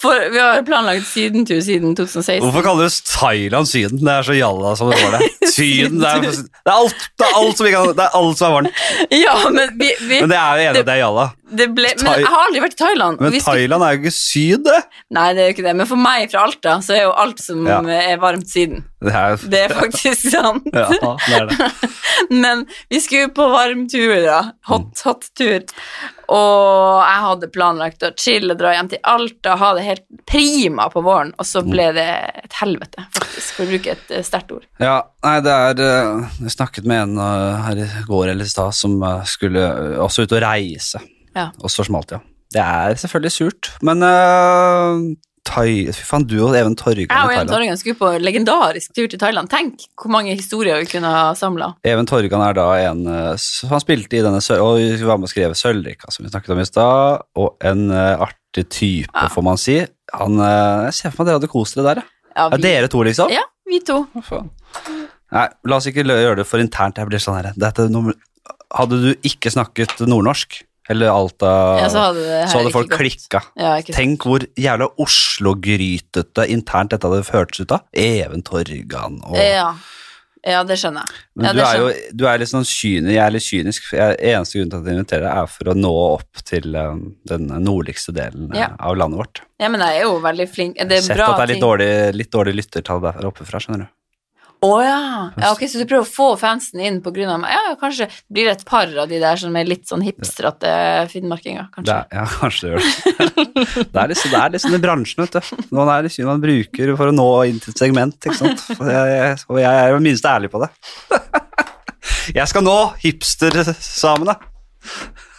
Speaker 2: For vi har planlagt sydentur siden 2016.
Speaker 1: Hvorfor kalles Thailand Syden? Det er så jalla som det var det. Syden, det er, det er, alt, det er, alt, som ikke, det er alt som er varmt.
Speaker 2: Ja, men vi, vi
Speaker 1: Men det er jo enig, det er jalla.
Speaker 2: det ble, Men
Speaker 1: Thai-
Speaker 2: jeg har aldri vært i Thailand.
Speaker 1: Men
Speaker 2: Vi skulle,
Speaker 1: Thailand er jo ikke syd, det.
Speaker 2: nei, det er jo ikke det. Men for meg fra Alta, så er jo alt som
Speaker 1: Ja.
Speaker 2: er varmt siden.
Speaker 1: Det er jo
Speaker 2: Det er faktisk sant.
Speaker 1: ja, det er det.
Speaker 2: Men vi skulle på varm tur, da.
Speaker 1: Mm.
Speaker 2: Hot, hot tur. Og jeg hadde planlagt å chille, dra hjem til Alta, ha det helt prima på våren, og
Speaker 1: Mm.
Speaker 2: så ble det et helvete, faktisk, for å bruke et eh, sterkt ord.
Speaker 1: Ja, nei, det er eh, Jeg snakket med en eh, her i går eller i stad som eh, skulle eh, også ut og reise,
Speaker 2: Ja.
Speaker 1: og så smalt det, ja. Det er selvfølgelig surt, men eh, Thai, Fy faen, du og Even Torgan i
Speaker 2: Jeg og en
Speaker 1: Thailand.
Speaker 2: tolvåring skulle på en legendarisk tur til Thailand. Tenk hvor mange historier vi kunne ha samla.
Speaker 1: Even Torgan er da en eh, s- Han spilte i denne sø- og vi var med og skrev Sølvrika, som vi snakket om i stad, og en eh, artig type,
Speaker 2: Ja.
Speaker 1: får man si. Han, eh, jeg ser for meg dere hadde kost dere der, ja.
Speaker 2: Ja,
Speaker 1: ja.
Speaker 2: vi,
Speaker 1: Dere to, liksom.
Speaker 2: ja, vi to.
Speaker 1: Hva faen? Nei, la oss ikke lø- gjøre det for internt. Jeg blir sånn her dette nummer... Hadde du ikke snakket nordnorsk, eller Alta,
Speaker 2: Ja, så
Speaker 1: så,
Speaker 2: hadde, det her
Speaker 1: hadde
Speaker 2: ikke
Speaker 1: folk
Speaker 2: gått.
Speaker 1: klikka.
Speaker 2: Ja, ikke sant.
Speaker 1: Tenk hvor jævla Oslo-grytete internt dette hadde hørtes ut av. Even Torgan og
Speaker 2: Ja. ja, det skjønner jeg.
Speaker 1: Men
Speaker 2: ja,
Speaker 1: du
Speaker 2: det
Speaker 1: er jo du er litt sånn kynisk, jeg er litt kynisk. for Jeg, eneste grunnen til at jeg inviterer deg, er for å nå opp til eh, den nordligste delen eh,
Speaker 2: Ja.
Speaker 1: av landet vårt.
Speaker 2: Ja, men jeg er jo veldig flink. Det er
Speaker 1: Sett
Speaker 2: bra
Speaker 1: at det er litt
Speaker 2: ting.
Speaker 1: dårlig, litt dårlig lyttertall der oppe fra, skjønner du.
Speaker 2: Å ja. ja. Ok, så du prøver å få fansen inn på grunn av meg? Ja, kanskje det blir et par av de der som er litt sånn hipstrete finnmarkinger,
Speaker 1: Det
Speaker 2: kanskje.
Speaker 1: er, ja, kanskje det gjør det. det er liksom, det er liksom i bransjen, vet du. Man er liksom man bruker for å nå inn til et segment, ikke sant. Og jeg, jeg, og jeg er jo minst ærlig på det. Jeg skal nå hipster-samene.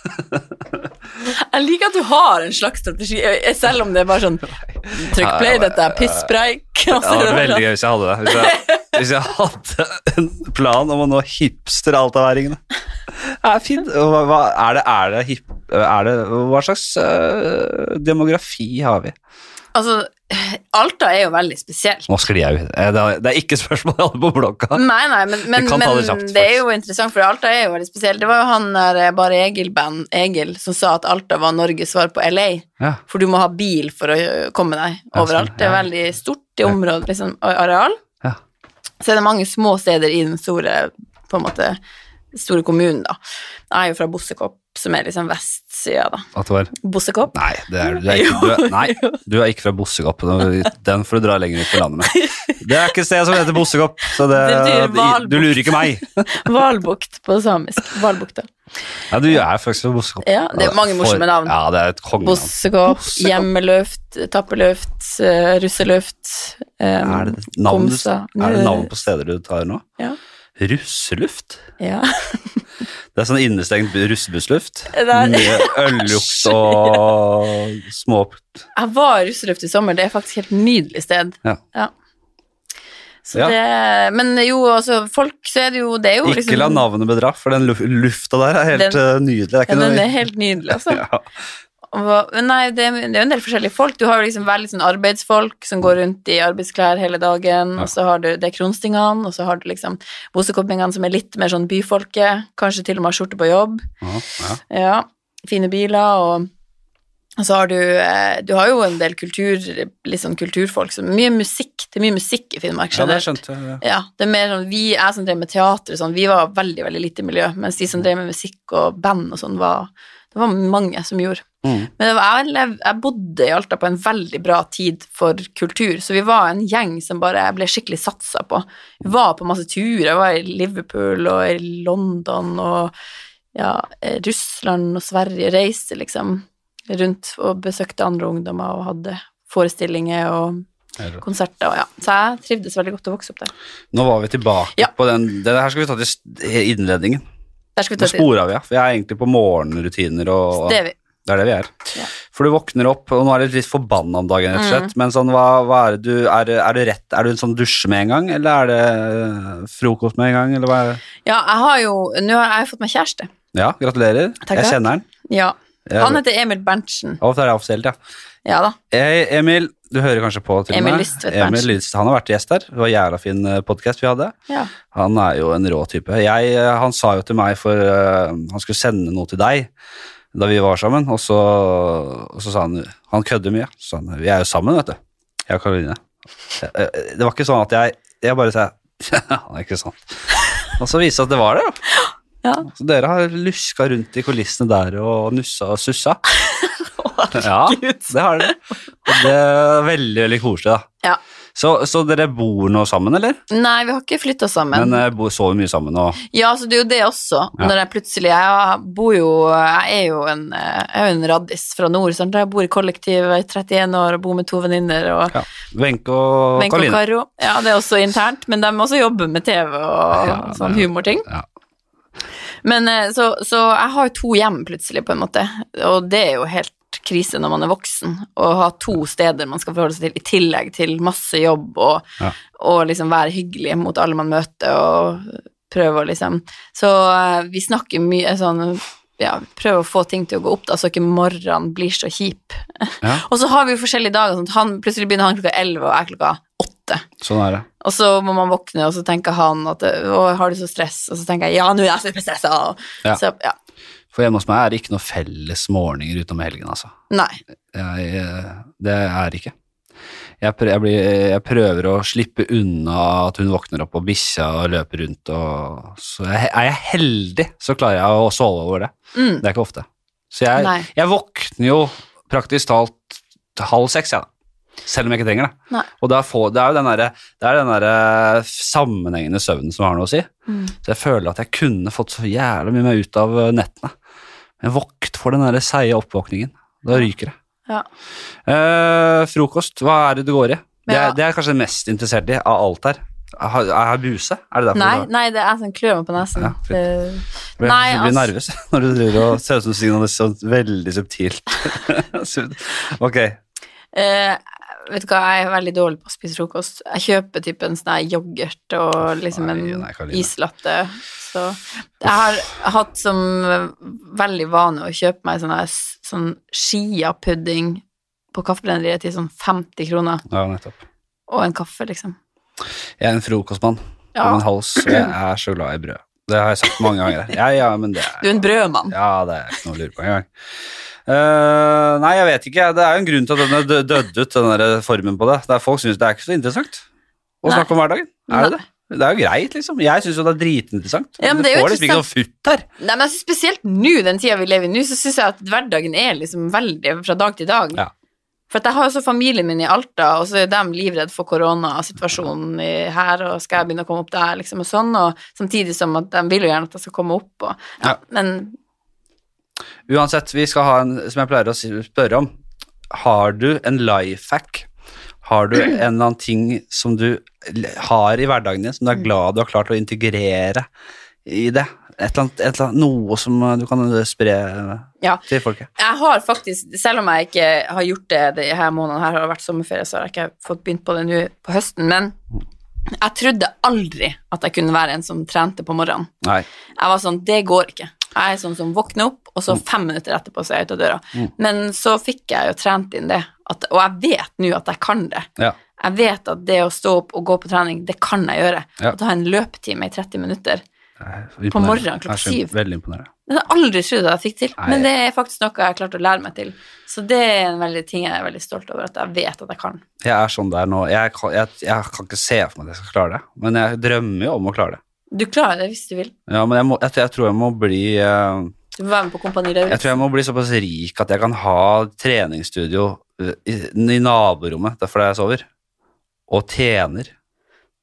Speaker 2: Jeg liker at du har en slags strategi, eh, selv om det er bare sånn Trykk play, dette er pisspreik. og
Speaker 1: Det
Speaker 2: så er
Speaker 1: hadde
Speaker 2: det
Speaker 1: vært
Speaker 2: bare
Speaker 1: veldig
Speaker 2: sånn.
Speaker 1: gøy hvis jeg hadde det. Hvis jeg, hvis jeg hadde en plan om å nå hipster-altaværingene. Det er fint. Og Hva, hva, er det, er det hip, er det, hva slags øh, demografi har vi?
Speaker 2: Altså, Alta er jo veldig spesielt.
Speaker 1: Nå sklir jeg ut. Eh, Det er- det er ikke spørsmål jeg hadde på blokka.
Speaker 2: Nei, nei, men, men,
Speaker 1: Vi kan ta
Speaker 2: men
Speaker 1: det kjapt,
Speaker 2: det er jo interessant, for Alta er jo veldig spesielt. Det var jo han der eh, Bare Egil-band, Egil, som sa at Alta var Norges svar på LA.
Speaker 1: Ja.
Speaker 2: For du må ha bil for å ø, komme deg
Speaker 1: Ja,
Speaker 2: overalt.
Speaker 1: sånn,
Speaker 2: Det er
Speaker 1: ja.
Speaker 2: veldig stort i området, liksom, og areal.
Speaker 1: Ja.
Speaker 2: Så er det mange små steder i den store, på en måte, store kommunen, da. Jeg er jo fra Bossekopp, som er liksom vestsida, da.
Speaker 1: At det var
Speaker 2: Bossekopp?
Speaker 1: Nei, det er, du, er ikke, du, er, nei du er ikke fra Bossekopp. Den får du dra lenger ut på landet med. Det er ikke et sted som heter Bossekopp, så det,
Speaker 2: Det betyr Valbot.
Speaker 1: du lurer ikke meg.
Speaker 2: Valbukt på samisk. Valbukta.
Speaker 1: Ja, du er faktisk fra Bossekopp.
Speaker 2: Ja, det er mange morsomme navn.
Speaker 1: Ja, det er et kongenavn.
Speaker 2: Bossekopp, eh,
Speaker 1: Bossekopp.
Speaker 2: hjemmeløft, tappeløft, ø, russeløft em,
Speaker 1: Er det, navn, du-
Speaker 2: Komsa.
Speaker 1: er det navn på steder du tar nå?
Speaker 2: eh, Ja.
Speaker 1: Russeluft?
Speaker 2: Ja.
Speaker 1: Det er sånn innestengt bu- russebussluft.
Speaker 2: Det er-
Speaker 1: Med øllukt og små
Speaker 2: Jeg var i russeløft i sommer, det er faktisk et helt nydelig sted.
Speaker 1: Ja.
Speaker 2: Så
Speaker 1: Ja.
Speaker 2: Det, men jo, altså, folk, så er det jo Det er jo liksom-
Speaker 1: Ikke la navnet bedra, for den luf- lufta der er helt
Speaker 2: Den-
Speaker 1: eh, nydelig. Det er
Speaker 2: ja,
Speaker 1: ikke
Speaker 2: den
Speaker 1: noe
Speaker 2: er helt nydelig, altså.
Speaker 1: ja.
Speaker 2: Og hva- men Nei, det, er- det er jo en del forskjellige folk. Du har jo liksom veldig sånn arbeidsfolk som går rundt i arbeidsklær hele dagen,
Speaker 1: Ja.
Speaker 2: og så har du det er kronstingene, og så har du liksom bosekoppingene som er litt mer sånn byfolket, kanskje til og med har skjorte på jobb.
Speaker 1: Ja, ja.
Speaker 2: Ja, fine biler og Og så har du eh, Du har jo en del kultur, litt sånn kulturfolk som Mye musikk. Det er mye musikk i Finnmark.
Speaker 1: Ja, det
Speaker 2: generelt.
Speaker 1: skjønte jeg. ja.
Speaker 2: Ja, det er mer sånn, vi, Jeg som drev med teater, og sånn, vi var veldig veldig lite miljø, mens de
Speaker 1: Mm.
Speaker 2: som drev med musikk og band og sånn, var, det var mange som gjorde.
Speaker 1: Mm.
Speaker 2: Men det var, jeg, lev- jeg bodde i Alta på en veldig bra tid for kultur, så vi var en gjeng som bare jeg ble skikkelig satsa på. Vi var på masse turer, jeg var i Liverpool og i London og ja, eh, Russland og Sverige, reiste liksom rundt og besøkte andre ungdommer og hadde forestillinger og
Speaker 1: Er det-
Speaker 2: konserter og ja. Så jeg trivdes veldig godt å vokse opp der.
Speaker 1: Nå var vi tilbake
Speaker 2: Ja.
Speaker 1: på den. Det her skal vi ta til s- innledningen.
Speaker 2: Der skal vi
Speaker 1: Nå
Speaker 2: ta et
Speaker 1: spora vi av. Vi er egentlig på morgenrutiner og
Speaker 2: Det er vi.
Speaker 1: Det er det vi er.
Speaker 2: Ja. Mm.
Speaker 1: For du våkner opp, og nå er du litt forbanna om dagen, rett og slett. Men sånn, hva, hva er det du er det, er det rett? Er du en sånn dusj med en gang, eller er det eh, frokost med en gang, eller hva er det?
Speaker 2: Ja, jeg har jo Nå har jeg fått meg kjæreste.
Speaker 1: Ja, gratulerer.
Speaker 2: Takk,
Speaker 1: jeg
Speaker 2: takk.
Speaker 1: kjenner den.
Speaker 2: Ja.
Speaker 1: Jeg-
Speaker 2: Han heter Emil Berntsen.
Speaker 1: Å, det er offisielt, ja.
Speaker 2: Ja da.
Speaker 1: Hei, Emil. Du hører kanskje på til og
Speaker 2: Emil
Speaker 1: med.
Speaker 2: Lystvedt
Speaker 1: Emil
Speaker 2: Berntsen.
Speaker 1: Lystvedt. Han har vært gjest her. Det var en jævla fin podkast vi hadde.
Speaker 2: Ja.
Speaker 1: Han er jo en rå type. Jeg, eh, han sa jo til meg, for eh, han skulle sende noe til deg da vi var sammen, og så, og så sa han Han kødder mye. Så sa han, vi er jo sammen, vet du. Jeg og Karoline. Eh, eh, Det var ikke sånn at jeg Jeg bare sa Han er ikke sånn. Og så viste det seg at det var det. da.
Speaker 2: Ja.
Speaker 1: Så dere har luska rundt i kulissene der og nussa og sussa. Ja, det har dere. Og det er veldig, veldig koselig, da.
Speaker 2: Ja.
Speaker 1: Så, så dere bor nå sammen, eller?
Speaker 2: Nei, vi har ikke flytta sammen.
Speaker 1: Men, eh, bo- sover mye sammen og
Speaker 2: ja, så det er jo det også.
Speaker 1: Ja.
Speaker 2: Når jeg plutselig Jeg bor jo Jeg er jo en, eh, jeg er jo en raddis fra nord. Sant? Jeg bor i kollektiv, jeg er 31 år og bor med to venninner. Og
Speaker 1: Ja. Wenche og
Speaker 2: Wenche og
Speaker 1: Karoline.
Speaker 2: Karo. Ja, det er også internt, men de også jobber med TV og
Speaker 1: Ja, det er-
Speaker 2: sånn humorting.
Speaker 1: ja.
Speaker 2: Men eh, så, så jeg har jo to hjem plutselig, på en måte, og det er jo helt krise når man er voksen, å ha to steder man skal forholde seg til, i tillegg til masse jobb og,
Speaker 1: Ja.
Speaker 2: og liksom være hyggelig mot alle man møter og prøve å liksom Så eh, vi snakker mye sånn ja, prøve å få ting til å gå opp, da, så ikke morgenen blir så kjip.
Speaker 1: Ja.
Speaker 2: Og så har vi jo forskjellige dager. Sånn at han, plutselig begynner han klokka 11, og jeg klokka 8.
Speaker 1: Sånn er det.
Speaker 2: Og så må man våkne, og så tenker han at Å, har du så stress? Og så tenker jeg ja, nå er jeg superstressa.
Speaker 1: Ja.
Speaker 2: Så ja.
Speaker 1: For hjemme hos meg er det ikke noe felles morgener utenom helgen, altså.
Speaker 2: Nei.
Speaker 1: Jeg, eh, det er ikke. Jeg prøver, jeg, blir, jeg prøver å slippe unna at hun våkner opp og bikkja og løper rundt og Så jeg, er jeg heldig, så klarer jeg å sove over det.
Speaker 2: Mm.
Speaker 1: Det er ikke ofte. Så jeg,
Speaker 2: Nei.
Speaker 1: jeg våkner jo praktisk talt halv seks, jeg, da. Selv om jeg ikke trenger det.
Speaker 2: Nei.
Speaker 1: Og da får, det er jo den derre det er den derre sammenhengende søvnen som har noe å si.
Speaker 2: Mm.
Speaker 1: Så jeg føler at jeg kunne fått så jævlig mye meg ut av eh, nettene. Men vokt for den der seige oppvåkningen. Da ryker det.
Speaker 2: Ja.
Speaker 1: Eh, frokost, hva er det du går i? Det
Speaker 2: Ja.
Speaker 1: er, det er kanskje det mest interessert i av alt her. Er jeg buse? Er det derfor
Speaker 2: Nei,
Speaker 1: du har-
Speaker 2: nei, det er sånn klør meg på nesen.
Speaker 1: Ja,
Speaker 2: Det-
Speaker 1: Jeg blir,
Speaker 2: nei,
Speaker 1: jeg blir
Speaker 2: altså-
Speaker 1: nervøs når du driver og ser ut som du signaliserer sånn veldig subtilt. ok.
Speaker 2: Eh, vet du hva, jeg er veldig dårlig på å spise frokost. Jeg kjøper typ en sånn her yoghurt og liksom en
Speaker 1: nei, nei, Karoline.
Speaker 2: islatte. Så jeg har hatt som veldig vane å kjøpe meg sånn her s- sånn Skia-pudding på kaffebrenneriet til sånn 50 kroner,
Speaker 1: Ja, nettopp.
Speaker 2: og en kaffe, liksom.
Speaker 1: Jeg er en frokostmann.
Speaker 2: Ja.
Speaker 1: Og en hals. og Jeg er så glad i brød. Det har jeg sagt mange ganger. her. Ja, ja, men det er
Speaker 2: Du er en brødmann.
Speaker 1: Ja, det er ikke noe å lure på engang. Eh, nei, jeg vet ikke. Det er jo en grunn til at den er dø- dødd ut, den der formen på det. det er, folk syns det er ikke så interessant å
Speaker 2: Nei.
Speaker 1: snakke om hverdagen. Er det det? Det er jo greit, liksom. Jeg syns jo det er dritinteressant.
Speaker 2: Ja, men
Speaker 1: du
Speaker 2: det er jo
Speaker 1: får liksom ikke noe futt her.
Speaker 2: Nei, men jeg synes spesielt nå, den tida vi lever i nå, så syns jeg at hverdagen er liksom veldig fra dag til dag.
Speaker 1: Ja.
Speaker 2: For at jeg har jo så familien min i Alta, og så er de livredd for koronasituasjonen i- her, og skal jeg begynne å komme opp der, liksom, og sånn, og samtidig som at de vil jo gjerne at jeg skal komme opp, og
Speaker 1: Ja.
Speaker 2: Men
Speaker 1: Uansett, vi skal ha en som jeg pleier å si- spørre om. Har du en life hack? Har du en eller annen ting som du l- har i hverdagen din, som
Speaker 2: Mm.
Speaker 1: du er glad du har klart å integrere i det? Et eller annet, et eller annet, noe som eh, du kan eh, spre eh,
Speaker 2: Ja.
Speaker 1: til folket?
Speaker 2: jeg har faktisk, selv om jeg ikke har gjort det de her månedene her, har det vært sommerferie, så har jeg ikke fått begynt på det nå på høsten, men jeg trodde aldri at jeg kunne være en som trente på morgenen.
Speaker 1: Nei.
Speaker 2: Jeg var sånn, det går ikke. Jeg er sånn som våkner opp, og så
Speaker 1: Mm.
Speaker 2: fem minutter etterpå så er jeg ute av døra. Men så fikk jeg jo trent inn det, at, og jeg vet nå at jeg kan det.
Speaker 1: Ja.
Speaker 2: Jeg vet at det å stå opp og gå på trening, det kan jeg gjøre.
Speaker 1: Ja.
Speaker 2: Å ta en løpetime i 30 minutter, På morgenen klokka syv.
Speaker 1: Veldig imponerende.
Speaker 2: Det hadde jeg aldri trodd at jeg fikk til,
Speaker 1: Nei.
Speaker 2: men det er faktisk noe jeg har klart å lære meg til. Så det er en veldig ting jeg er veldig stolt over, at jeg vet at jeg kan.
Speaker 1: Jeg er sånn der nå. Jeg kan, jeg, jeg kan ikke se for meg at jeg skal klare det, men jeg drømmer jo om å klare det.
Speaker 2: Du klarer det hvis du vil.
Speaker 1: Ja, men jeg, må, jeg, jeg tror jeg må bli eh,
Speaker 2: Du må være med på Kompani
Speaker 1: Jeg
Speaker 2: Lauritzen.
Speaker 1: tror jeg må bli såpass rik at jeg kan ha treningsstudio eh, i, i naborommet, derfor jeg sover, og tjener,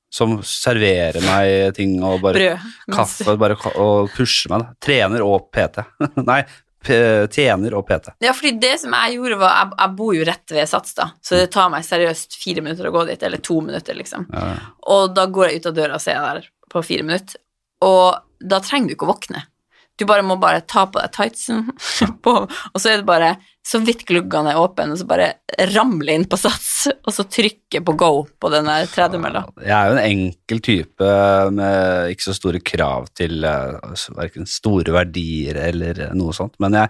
Speaker 1: som serverer meg ting og bare
Speaker 2: Brød.
Speaker 1: kaffe og bare, ka- og pusher meg. Da. Trener og PT. Nei, p tjener og PT.
Speaker 2: Ja, fordi det som jeg gjorde var, jeg, jeg bor jo rett ved Sats da, så det tar meg seriøst fire minutter å gå dit, eller to minutter liksom.
Speaker 1: Ja,
Speaker 2: Og da går jeg ut av døra og ser jeg der på fire minutter. Og da trenger du ikke å våkne. Du bare må bare ta på deg tightsen, på, og så er det bare så vidt gluggene er åpne, og så bare ramle inn på sats, og så trykke på go på den der tredemølla.
Speaker 1: Jeg er jo en enkel type med ikke så store krav til eh, altså, hverken store verdier eller eh, noe sånt, men jeg,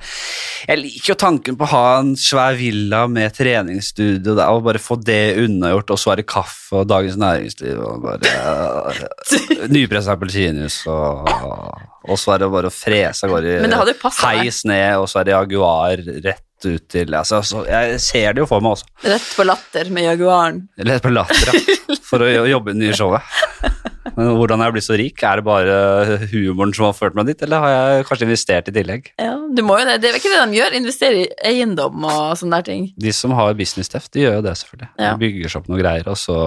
Speaker 1: jeg liker jo tanken på å ha en svær villa med treningsstudio der, og bare få det unnagjort, og så er det kaffe og Dagens Næringsliv og bare uh, nypressa appelsinjuice, og, og så er det bare å frese av gårde i
Speaker 2: Men det hadde jo passet meg.
Speaker 1: heis ned, og så er det Jaguar rett ut til altså, så Jeg ser det jo for meg også.
Speaker 2: Rett på latter med Jaguaren.
Speaker 1: Eller på latter, ja. For å jo- jobbe i det nye showet. Men hvordan har jeg blitt så rik? Er det bare humoren som har ført meg dit, eller har jeg kanskje investert i tillegg?
Speaker 2: Ja, du må jo det. Det er ikke det de gjør, investere i eiendom og sånne der ting.
Speaker 1: De som har business-teft, de gjør jo det, selvfølgelig.
Speaker 2: Ja.
Speaker 1: De bygger seg opp noe greier, og så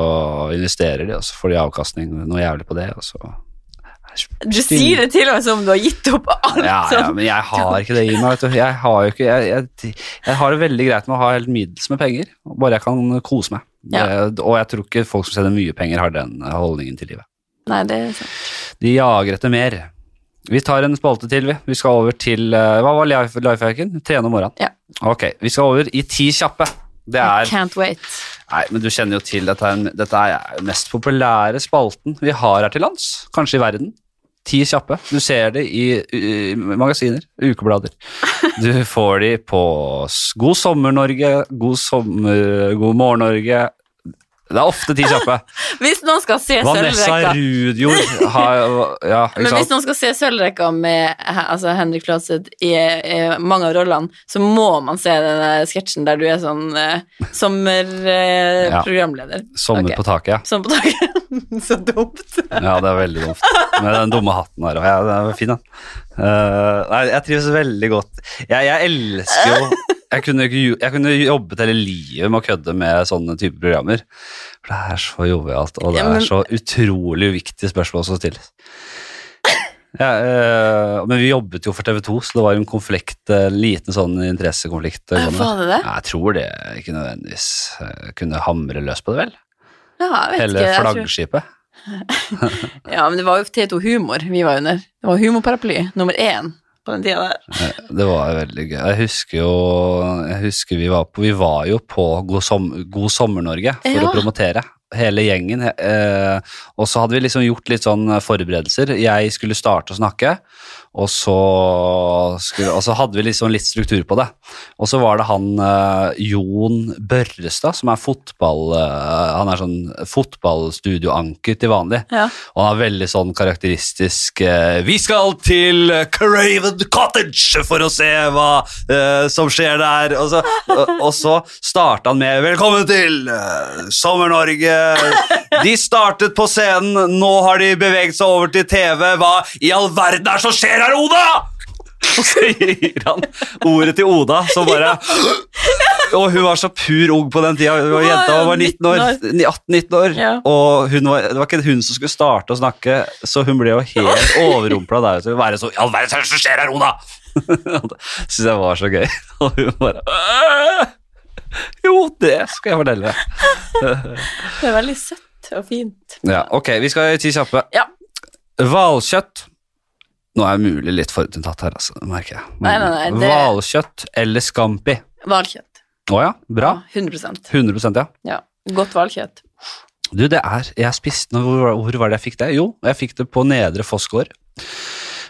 Speaker 1: investerer de, og så får de avkastning noe jævlig på det, og så
Speaker 2: Du sier det til og med som om du har gitt opp alt
Speaker 1: Ja, ja,
Speaker 2: sånn.
Speaker 1: men jeg har ikke det i meg, vet du. Jeg har jo ikke Jeg, jeg, jeg har det veldig greit med å ha helt middels med penger, bare jeg kan kose meg.
Speaker 2: Ja.
Speaker 1: Det- Og jeg tror ikke folk som tjener mye penger, har den holdningen til livet.
Speaker 2: Nei, det er sant.
Speaker 1: De jager etter mer. Vi tar en spalte til, vi. Vi skal over til eh, Hva var life- lifehacken? Trene om morgenen.
Speaker 2: Ja.
Speaker 1: Ok, vi skal over i ti kjappe. Det
Speaker 2: I
Speaker 1: er
Speaker 2: can't wait.
Speaker 1: Nei, men du kjenner jo til dette. er en- Dette er den mest populære spalten vi har her til lands. Kanskje i verden. Ti kjappe. Du ser det i, i magasiner, ukeblader. Du får de på s- God sommer, Norge. God sommer God morgen, Norge. Det er ofte ti kjappe.
Speaker 2: Hvis noen skal se
Speaker 1: Vanessa
Speaker 2: sølvrekka
Speaker 1: Rudjord har Ja, ikke
Speaker 2: men
Speaker 1: sant?
Speaker 2: hvis noen skal se sølvrekka med he- altså Henrik Fladseth i, i mange av rollene, så må man se den sketsjen der du er sånn eh,
Speaker 1: Ja.
Speaker 2: sommerprogramleder.
Speaker 1: Sommer
Speaker 2: Ok.
Speaker 1: på taket, ja.
Speaker 2: Sånn på dagen. så dumt.
Speaker 1: Ja, det er veldig dumt. Med den dumme hatten her òg. Ja, den er fin, den. Eh, nei, jeg trives veldig godt. Jeg, jeg elsker jo jeg kunne, ikke jo- jeg kunne jobbet hele livet med å kødde med sånne type programmer. For det er så jovialt, og det
Speaker 2: Ja, men-
Speaker 1: er så utrolig uviktige spørsmål som stilles. Ja, eh, men vi jobbet jo for TV 2, så det var en konflikt, eh, liten sånn interessekonflikt. eh,
Speaker 2: Ja,
Speaker 1: gående.
Speaker 2: var det det?
Speaker 1: Ja, Jeg tror det ikke nødvendigvis eh, kunne hamre løs på det, vel?
Speaker 2: Ja, jeg vet
Speaker 1: Hele
Speaker 2: ikke. Jeg tror.
Speaker 1: flaggskipet.
Speaker 2: Ja, men det var jo T2 Humor vi var under. Det var humorparaply nummer én på den tida der.
Speaker 1: Det var veldig gøy. Jeg husker jo jeg husker vi, var på, vi var jo på God, som, God sommer-Norge for
Speaker 2: Ja.
Speaker 1: å promotere. Hele gjengen. Eh, og så hadde vi liksom gjort litt sånn forberedelser. Jeg skulle starte å snakke, og så, skulle, og så hadde vi liksom litt struktur på det. Og så var det han eh, Jon Børrestad, som er fotball... Eh, han er sånn fotballstudioanker til vanlig.
Speaker 2: Ja.
Speaker 1: Og han har veldig sånn karakteristisk eh, Vi skal til Craven Cottage for å se hva eh, som skjer der. Og så, og, og så starta han med Velkommen til eh, Sommer-Norge. De startet på scenen, nå har de beveget seg over til TV. Hva i all verden er det som skjer her, Oda? Og så gir han ordet til Oda, som bare Og hun var så pur ung på den tida. Hun var jenta hun var 19 år. 18-19 år.
Speaker 2: Ja.
Speaker 1: Og hun var, det var ikke hun som skulle starte å snakke, så hun ble jo helt overrumpla der. Så hun var så, «I all verden, hva er det som skjer her, Oda? Det Syns jeg var så gøy. Og hun bare «Øh, Jo, det skal jeg fortelle.
Speaker 2: Det er veldig søtt og fint.
Speaker 1: Ja, ok, vi skal i ti kjappe.
Speaker 2: Ja.
Speaker 1: Hvalkjøtt. Nå er jeg mulig litt forutinntatt her, altså, det merker jeg.
Speaker 2: Nei, nei, nei, det-
Speaker 1: Hvalkjøtt eller scampi?
Speaker 2: Hvalkjøtt.
Speaker 1: Å ja, bra.
Speaker 2: 100
Speaker 1: 100 ja.
Speaker 2: Ja. Godt hvalkjøtt.
Speaker 1: Du, det er Jeg spiste nå, hvor, hvor var det jeg fikk det? Jo, jeg fikk det på Nedre Fossgård.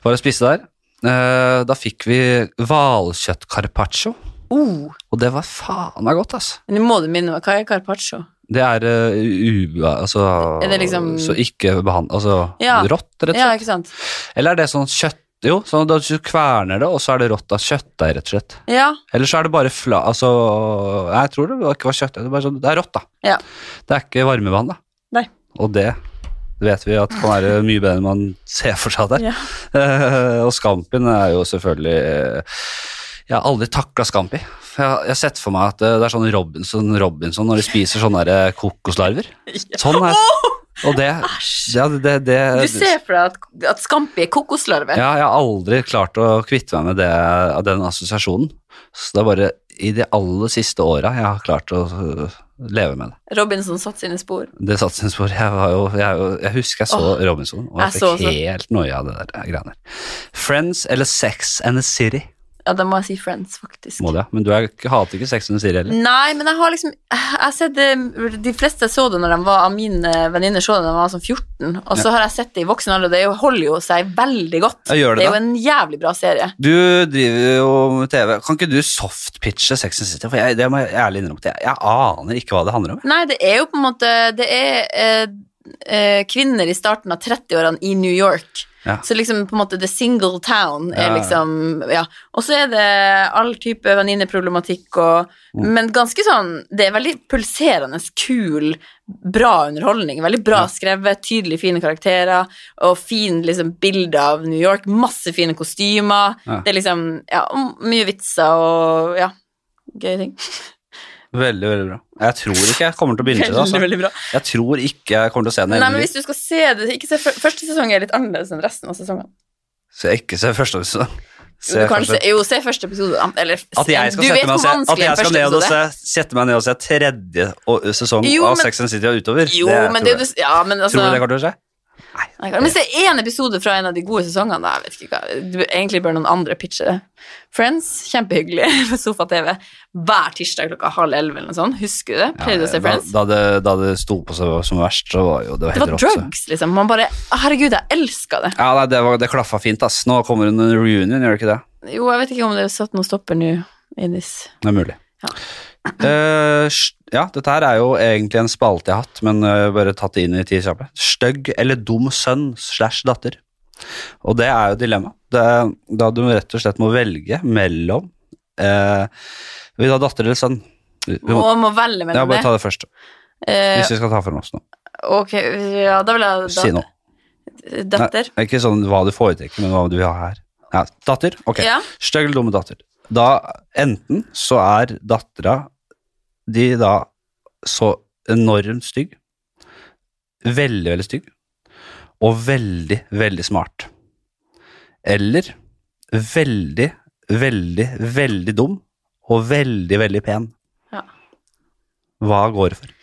Speaker 1: Var og spiste der. Eh, da fikk vi hvalkjøttcarpaccio,
Speaker 2: Oh,
Speaker 1: og det var faen meg godt, altså.
Speaker 2: men nå må du minne meg, hva er carpaccio?
Speaker 1: Det er eh, u... Altså,
Speaker 2: Er det liksom-
Speaker 1: Så ikke behandlet Altså
Speaker 2: Ja.
Speaker 1: rått, rett og slett.
Speaker 2: Ja, ikke sant?
Speaker 1: Eller er det sånn kjøtt Jo, sånn at du kverner det, og så er det rått av kjøttdeig, rett og slett.
Speaker 2: Ja,
Speaker 1: Eller så er det bare fla... Altså, jeg tror det var- ikke var kjøttdeig, det er bare sånn Det er rått, da.
Speaker 2: Ja.
Speaker 1: Det er ikke varmebehandla.
Speaker 2: Nei.
Speaker 1: Og det vet vi at kan være mye bedre enn man ser for seg det.
Speaker 2: Ja.
Speaker 1: Eh, og Scampi er jo selvfølgelig eh, Jeg har aldri takla Scampi. For Jeg, jeg har sett for meg at eh, det er sånn Robinson Robinson når de spiser sånne der kokoslarver. Sånn er Og det,
Speaker 2: Æsj.
Speaker 1: ja, det, det
Speaker 2: Du ser for deg at, at Scampi er kokoslarve.
Speaker 1: ja, jeg har aldri klart å kvitte meg med det, av den assosiasjonen. Så det er bare i de aller siste åra jeg har klart å øh, leve med det.
Speaker 2: Robinson satte sine spor.
Speaker 1: Det satte sine spor. Jeg, var jo, jeg, er jo- jeg husker jeg så
Speaker 2: Åh,
Speaker 1: Robinson, og jeg
Speaker 2: jeg så
Speaker 1: fikk
Speaker 2: også.
Speaker 1: helt noia av det der eh, greiene der. Friends eller Sex and the City?
Speaker 2: Ja, da må jeg si Friends, faktisk.
Speaker 1: Må det, ja. Men du er, hater ikke Sex and the City heller?
Speaker 2: Nei, men jeg har liksom Jeg har sett det, De fleste jeg så det når de var av mine venninner så det når de var sånn 14, og så har jeg sett det i voksen alder, og det er jo- holder jo seg veldig
Speaker 1: Ja,
Speaker 2: godt.
Speaker 1: gjør det
Speaker 2: det er jo
Speaker 1: det?
Speaker 2: en jævlig bra serie.
Speaker 1: Du driver jo med TV. Kan ikke du softpitche Sex and the City? For jeg, det må jeg ærlig innrømme. Jeg, jeg aner ikke hva det handler om.
Speaker 2: Nei, det er jo på en måte Det er eh, eh, kvinner i starten av 30-årene i New York.
Speaker 1: Ja.
Speaker 2: Så liksom på en måte The Single Town
Speaker 1: Ja,
Speaker 2: er
Speaker 1: ja.
Speaker 2: liksom Ja. Og så er det all type venninneproblematikk og
Speaker 1: Mm.
Speaker 2: Men ganske sånn Det er veldig pulserende, kul, bra underholdning. Veldig bra
Speaker 1: Ja.
Speaker 2: skrevet, tydelig fine karakterer og fin liksom bilde av New York. Masse fine kostymer.
Speaker 1: Ja.
Speaker 2: Det er liksom Ja, og mye vitser og Ja. Gøye ting.
Speaker 1: Veldig, veldig bra. Jeg tror ikke jeg kommer til å begynne til det. altså.
Speaker 2: Veldig, veldig bra.
Speaker 1: Jeg tror ikke jeg kommer til å se den.
Speaker 2: Nei,
Speaker 1: hele
Speaker 2: men
Speaker 1: tiden.
Speaker 2: hvis du skal se det ikke se, før- Første sesong er litt annerledes enn resten av sesongen.
Speaker 1: Så jeg ikke ser første episode.
Speaker 2: Jo,
Speaker 1: Se
Speaker 2: du kan
Speaker 1: første-
Speaker 2: se, jo, se første episode, da. Eller
Speaker 1: At jeg skal,
Speaker 2: du
Speaker 1: sette
Speaker 2: vet
Speaker 1: meg, og
Speaker 2: hvor
Speaker 1: se, at
Speaker 2: vanskelig
Speaker 1: jeg
Speaker 2: en
Speaker 1: skal
Speaker 2: første
Speaker 1: ned og
Speaker 2: episode
Speaker 1: se,
Speaker 2: er.
Speaker 1: sette meg ned og se tredje og- sesong
Speaker 2: Jo,
Speaker 1: av
Speaker 2: men-
Speaker 1: Sex and the City og utover.
Speaker 2: Jo,
Speaker 1: det,
Speaker 2: men
Speaker 1: tror
Speaker 2: det
Speaker 1: jeg.
Speaker 2: er jo det- Ja, men altså
Speaker 1: Tror du det kommer til å skje?
Speaker 2: Nei, Men se én episode fra en av de gode sesongene. da, Jeg vet ikke hva. Du, egentlig bør noen andre pitche det. Friends, kjempehyggelig på Sofa-TV hver tirsdag klokka halv elleve eller noe sånt. Husker du det? Pleide du å se Friends?
Speaker 1: Da, da, det, da det sto på seg som verst, så var jo det var
Speaker 2: det
Speaker 1: helt
Speaker 2: var
Speaker 1: rått. så.
Speaker 2: drugs, liksom. Man bare Herregud, jeg elska det.
Speaker 1: Ja, nei, det, var, det klaffa fint, ass. Nå kommer hun en reunion, gjør det ikke det?
Speaker 2: Jo, jeg vet ikke om det er satt noen stopper nå. in this.
Speaker 1: Det er mulig.
Speaker 2: Ja.
Speaker 1: Eh, s- ja, dette her er jo egentlig en spalte jeg har hatt, men eh, bare tatt det inn i tid kjappe. Stygg eller dum sønn slash datter. Og det er jo dilemma. Det, er- da du rett og slett må velge mellom eh, Vil du ha datter eller sønn? Vi må,
Speaker 2: Og må
Speaker 1: ja,
Speaker 2: velge mellom
Speaker 1: bare
Speaker 2: det.
Speaker 1: ta det først,
Speaker 2: Eh,
Speaker 1: hvis vi skal ta for oss noe.
Speaker 2: Ok, ja, da vil jeg da,
Speaker 1: Si noe.
Speaker 2: Datter.
Speaker 1: Nei, ikke sånn hva du foretrekker, men hva du vil ha her. Ja, datter? Ok.
Speaker 2: Ja.
Speaker 1: Stygg eller dumme datter. Da enten så er dattera de da så enormt stygg, veldig, veldig stygg, og veldig, veldig smart. Eller veldig, veldig, veldig dum og veldig, veldig pen.
Speaker 2: Ja.
Speaker 1: Hva går det for?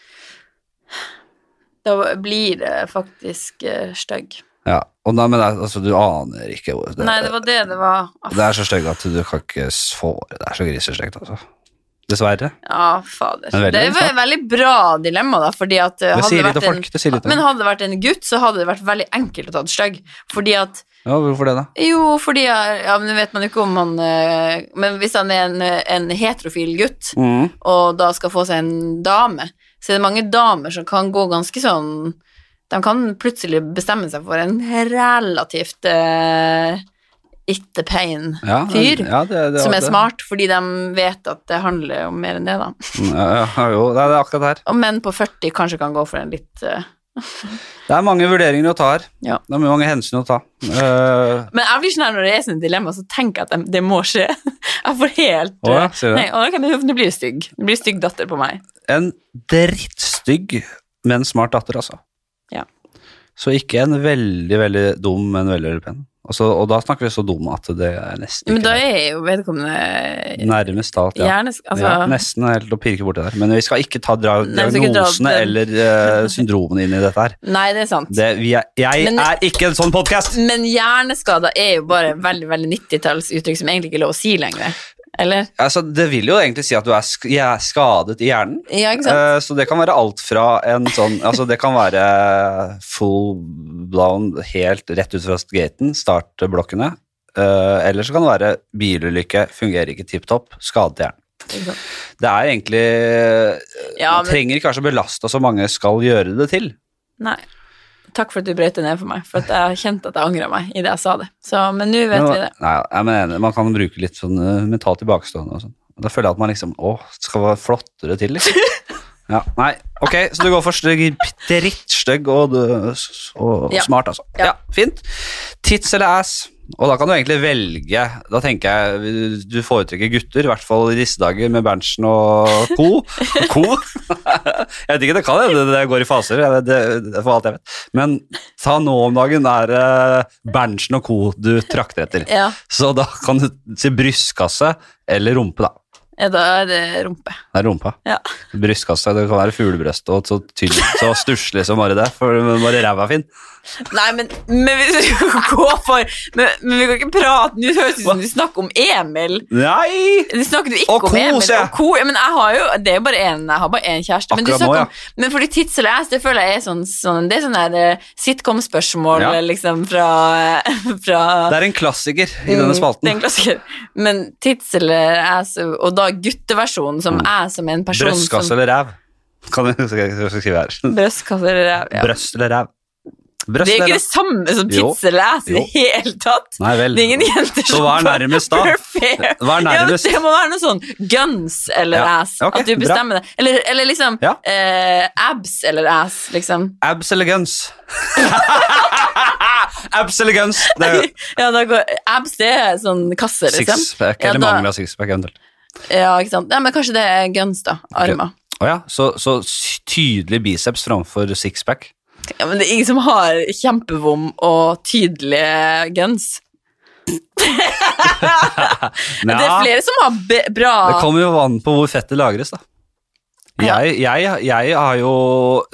Speaker 2: Da blir det faktisk uh, stygg.
Speaker 1: Ja, og nei, men det, er- altså, du aner ikke hvor det,
Speaker 2: Nei, det var det det var. Ah,
Speaker 1: det er så stygt at du kan ikke få det. Det er så grisestygt, altså. Dessverre.
Speaker 2: Ja, fader.
Speaker 1: Men veldig
Speaker 2: Det var
Speaker 1: smart.
Speaker 2: et veldig bra dilemma, da, fordi at eh,
Speaker 1: Det
Speaker 2: hadde
Speaker 1: sier
Speaker 2: det
Speaker 1: litt om
Speaker 2: vært en
Speaker 1: folk. Det sier litt om
Speaker 2: men
Speaker 1: folk.
Speaker 2: hadde det vært en gutt, så hadde det vært veldig enkelt å ta det stygg. Fordi at
Speaker 1: Ja, hvorfor det, da?
Speaker 2: Jo, fordi jeg- Ja, men nå vet man jo ikke om han eh, Men hvis han er en, eh, en heterofil gutt,
Speaker 1: Mm.
Speaker 2: og da skal få seg en dame, så er det mange damer som kan gå ganske sånn De kan plutselig bestemme seg for en relativt eh, ikke pain
Speaker 1: Ja,
Speaker 2: fyr
Speaker 1: ja, det- det-
Speaker 2: som er
Speaker 1: det-
Speaker 2: smart, fordi de vet at det handler om mer enn det, da.
Speaker 1: Mm, Ja, ja, jo, det er det akkurat her.
Speaker 2: Og menn på 40 kanskje kan gå for en litt eh,
Speaker 1: Det er mange vurderinger å ta her.
Speaker 2: Ja.
Speaker 1: Det er mange hensyn å ta. Eh,
Speaker 2: Men jeg blir sånn her når det er sånne dilemma, så tenker jeg at det- det må skje. Jeg får helt
Speaker 1: Å ja,
Speaker 2: eh,
Speaker 1: sier du
Speaker 2: Nei,
Speaker 1: det?
Speaker 2: å, ok, nå- nå blir det stygg. Det blir stygg datter på meg.
Speaker 1: En drittstygg, men smart datter, altså.
Speaker 2: Ja.
Speaker 1: Så ikke en veldig, veldig dum, men veldig, veldig pen. Altså, og da snakker vi så dum at det er nesten
Speaker 2: Men da
Speaker 1: ikke
Speaker 2: er jo vedkommende
Speaker 1: Nærmest da, at ja.
Speaker 2: gjerne altså,
Speaker 1: ja, nesten helt å pirke borti der. Men vi skal ikke ta dra
Speaker 2: Nei, vi skal ikke dra opp
Speaker 1: diagnosene
Speaker 2: den.
Speaker 1: eller eh, syndromene inn i dette her.
Speaker 2: Nei, det er sant.
Speaker 1: Det, vi er, jeg
Speaker 2: Men-
Speaker 1: er ikke en sånn podkast!
Speaker 2: Men hjerneskader er jo bare et veldig veldig 90-tallsuttrykk som egentlig ikke er lov å si lenger. Eller?
Speaker 1: Altså, det vil jo egentlig si at du er sk jeg er skadet i hjernen.
Speaker 2: Ja, ikke sant?
Speaker 1: Eh, Så det kan være alt fra en sånn Altså, det kan være full blown helt rett ut fra gaten, startblokkene. Eh, eller så kan det være bilulykke, fungerer ikke tipp topp, skadet hjernen.
Speaker 2: Ikke sant?
Speaker 1: Det er egentlig
Speaker 2: Ja,
Speaker 1: Man
Speaker 2: men
Speaker 1: trenger kanskje å belaste så mange skal gjøre det til.
Speaker 2: Nei. Takk for at du brøt det ned for meg, for at jeg har kjent at jeg angra meg i det jeg sa det. Så, men nå vet
Speaker 1: Men,
Speaker 2: vi det.
Speaker 1: Nei, jeg mener, man kan bruke litt sånn eh, mentalt tilbakestående og sånn. Da føler jeg at man liksom Å, skal være flottere til, liksom. Ja, nei, ok, så du går for stygg, drittstygg og, dø- s- og
Speaker 2: Ja.
Speaker 1: smart, altså. Ja.
Speaker 2: Ja.
Speaker 1: fint. Tits eller ass? Og da kan du egentlig velge. Da tenker jeg du foretrekker gutter, i hvert fall i disse dager med Berntsen og co. Co? jeg vet ikke, det kan hende det går i faser, jeg vet- det, det, for alt jeg vet. Men ta nå om dagen er eh, Berntsen og co. du trakter etter.
Speaker 2: Ja,
Speaker 1: Så da kan du si brystkasse eller rumpe, da.
Speaker 2: ja, da er det rumpe.
Speaker 1: Det er rumpa.
Speaker 2: Ja.
Speaker 1: Brystkasse, det kan være fuglebrøst og så tynn, så stusslig som bare det. For bare ræva er fin.
Speaker 2: Nei, men, men hvis du skal gå for Men, men vi kan ikke prate Nå høres det ut som du snakker om Emil.
Speaker 1: Nei!
Speaker 2: Det snakker du ikke
Speaker 1: Og
Speaker 2: om
Speaker 1: ko,
Speaker 2: Emil.
Speaker 1: sier jeg.
Speaker 2: Og ko, ja, men jeg har jo Det er jo bare én Jeg har bare én kjæreste. Men, du
Speaker 1: Akkurat nå,
Speaker 2: snakker
Speaker 1: ja.
Speaker 2: om, men fordi tits eller ass, det føler jeg er sånn, sånn Det er sånn der eh, sitcom-spørsmål,
Speaker 1: Ja.
Speaker 2: liksom, fra, fra
Speaker 1: Det er en klassiker i
Speaker 2: Mm,
Speaker 1: denne
Speaker 2: Det er
Speaker 1: spalten.
Speaker 2: en klassiker. Men tits eller ass, og da gutteversjonen, som
Speaker 1: Mm.
Speaker 2: jeg som er en person
Speaker 1: Brystkasse eller ræv. Kan du skal jeg skrive her.
Speaker 2: som Brystkasse eller ræv. Ja.
Speaker 1: Brøst eller ræv. Brøst
Speaker 2: Det er
Speaker 1: eller
Speaker 2: ikke det
Speaker 1: ræv.
Speaker 2: samme som
Speaker 1: Jo.
Speaker 2: tits eller ass i det hele tatt.
Speaker 1: Nei vel.
Speaker 2: Det er ingen jenter
Speaker 1: Så hva er nærmest da?
Speaker 2: Fair.
Speaker 1: Hva er
Speaker 2: Ja, men
Speaker 1: nærmest?
Speaker 2: det må være noe sånn guns eller
Speaker 1: Ja,
Speaker 2: ass.
Speaker 1: ok,
Speaker 2: at du
Speaker 1: bra.
Speaker 2: bestemmer det. Eller, eller liksom
Speaker 1: Ja.
Speaker 2: eh, abs eller ass, liksom.
Speaker 1: Abs eller guns? Abs eller guns? Det er
Speaker 2: Ja, da går, abs, det er sånn kasse, liksom.
Speaker 1: sixpack,
Speaker 2: Ja,
Speaker 1: eller
Speaker 2: da-
Speaker 1: mangel av sixpack eventuelt.
Speaker 2: Ja, ikke sant? Nei, men kanskje det er guns, da. Armer.
Speaker 1: Å ja, så, så s- tydelig biceps framfor sixpack.
Speaker 2: Ja, men det er ingen som har kjempevom og tydelige guns. Det er
Speaker 1: Nja,
Speaker 2: flere som har be bra
Speaker 1: det kommer jo an på hvor fett det lagres, da.
Speaker 2: Ja.
Speaker 1: Jeg, jeg, jeg har jo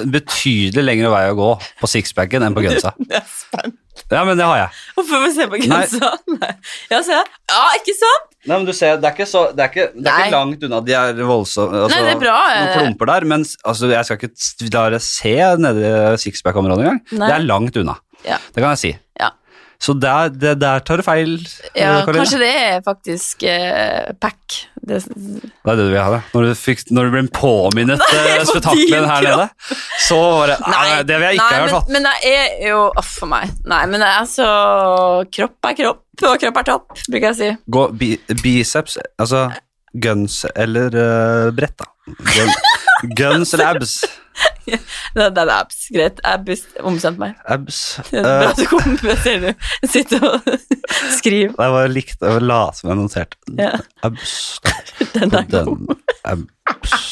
Speaker 1: betydelig lengre vei å gå på sixpacken enn på gunsa.
Speaker 2: Jeg er spent.
Speaker 1: Ja, men det har jeg.
Speaker 2: Hvorfor får vi se på
Speaker 1: Nei.
Speaker 2: gensa? Nei. Ja, se. Ja, ikke sant?
Speaker 1: Nei, men du ser, Det er ikke, så, det er ikke, det er
Speaker 2: Nei.
Speaker 1: ikke langt unna. De er voldsomme. Altså,
Speaker 2: Nei, det er bra, eh.
Speaker 1: Noen klumper der, men s- altså, jeg skal ikke s- la deg se nede i sixpack-området engang.
Speaker 2: Nei.
Speaker 1: Det er langt unna.
Speaker 2: Ja.
Speaker 1: Det kan jeg si.
Speaker 2: Ja.
Speaker 1: Så der, det, der tar du feil,
Speaker 2: Ja,
Speaker 1: eh, Karoline.
Speaker 2: kanskje det er faktisk eh, pack. Det,
Speaker 1: Det er det du vil ha, det. Når du, fikk, når du ble påminnet eh,
Speaker 2: på din
Speaker 1: spetakkelet her nede, så var det Nei, Ah, det vil jeg ikke
Speaker 2: nei,
Speaker 1: ha, i hvert fall.
Speaker 2: men, men jeg er jo Uff for meg. Nei, men jeg er så Kropp er kropp, og kropp er topp, bruker jeg å si.
Speaker 1: Gå bi biceps, altså guns eller eh, brett, da. Gun, guns eller abs.
Speaker 2: Det, det er abs. Greit. Jeg best- omstemte meg.
Speaker 1: Abs.
Speaker 2: Det er bra
Speaker 1: Eh,
Speaker 2: at du kom, jeg ser du sitter og skriver.
Speaker 1: jeg bare likte jeg la som jeg noterte.
Speaker 2: Ja,
Speaker 1: Abs.
Speaker 2: den er god.
Speaker 1: Den, abs.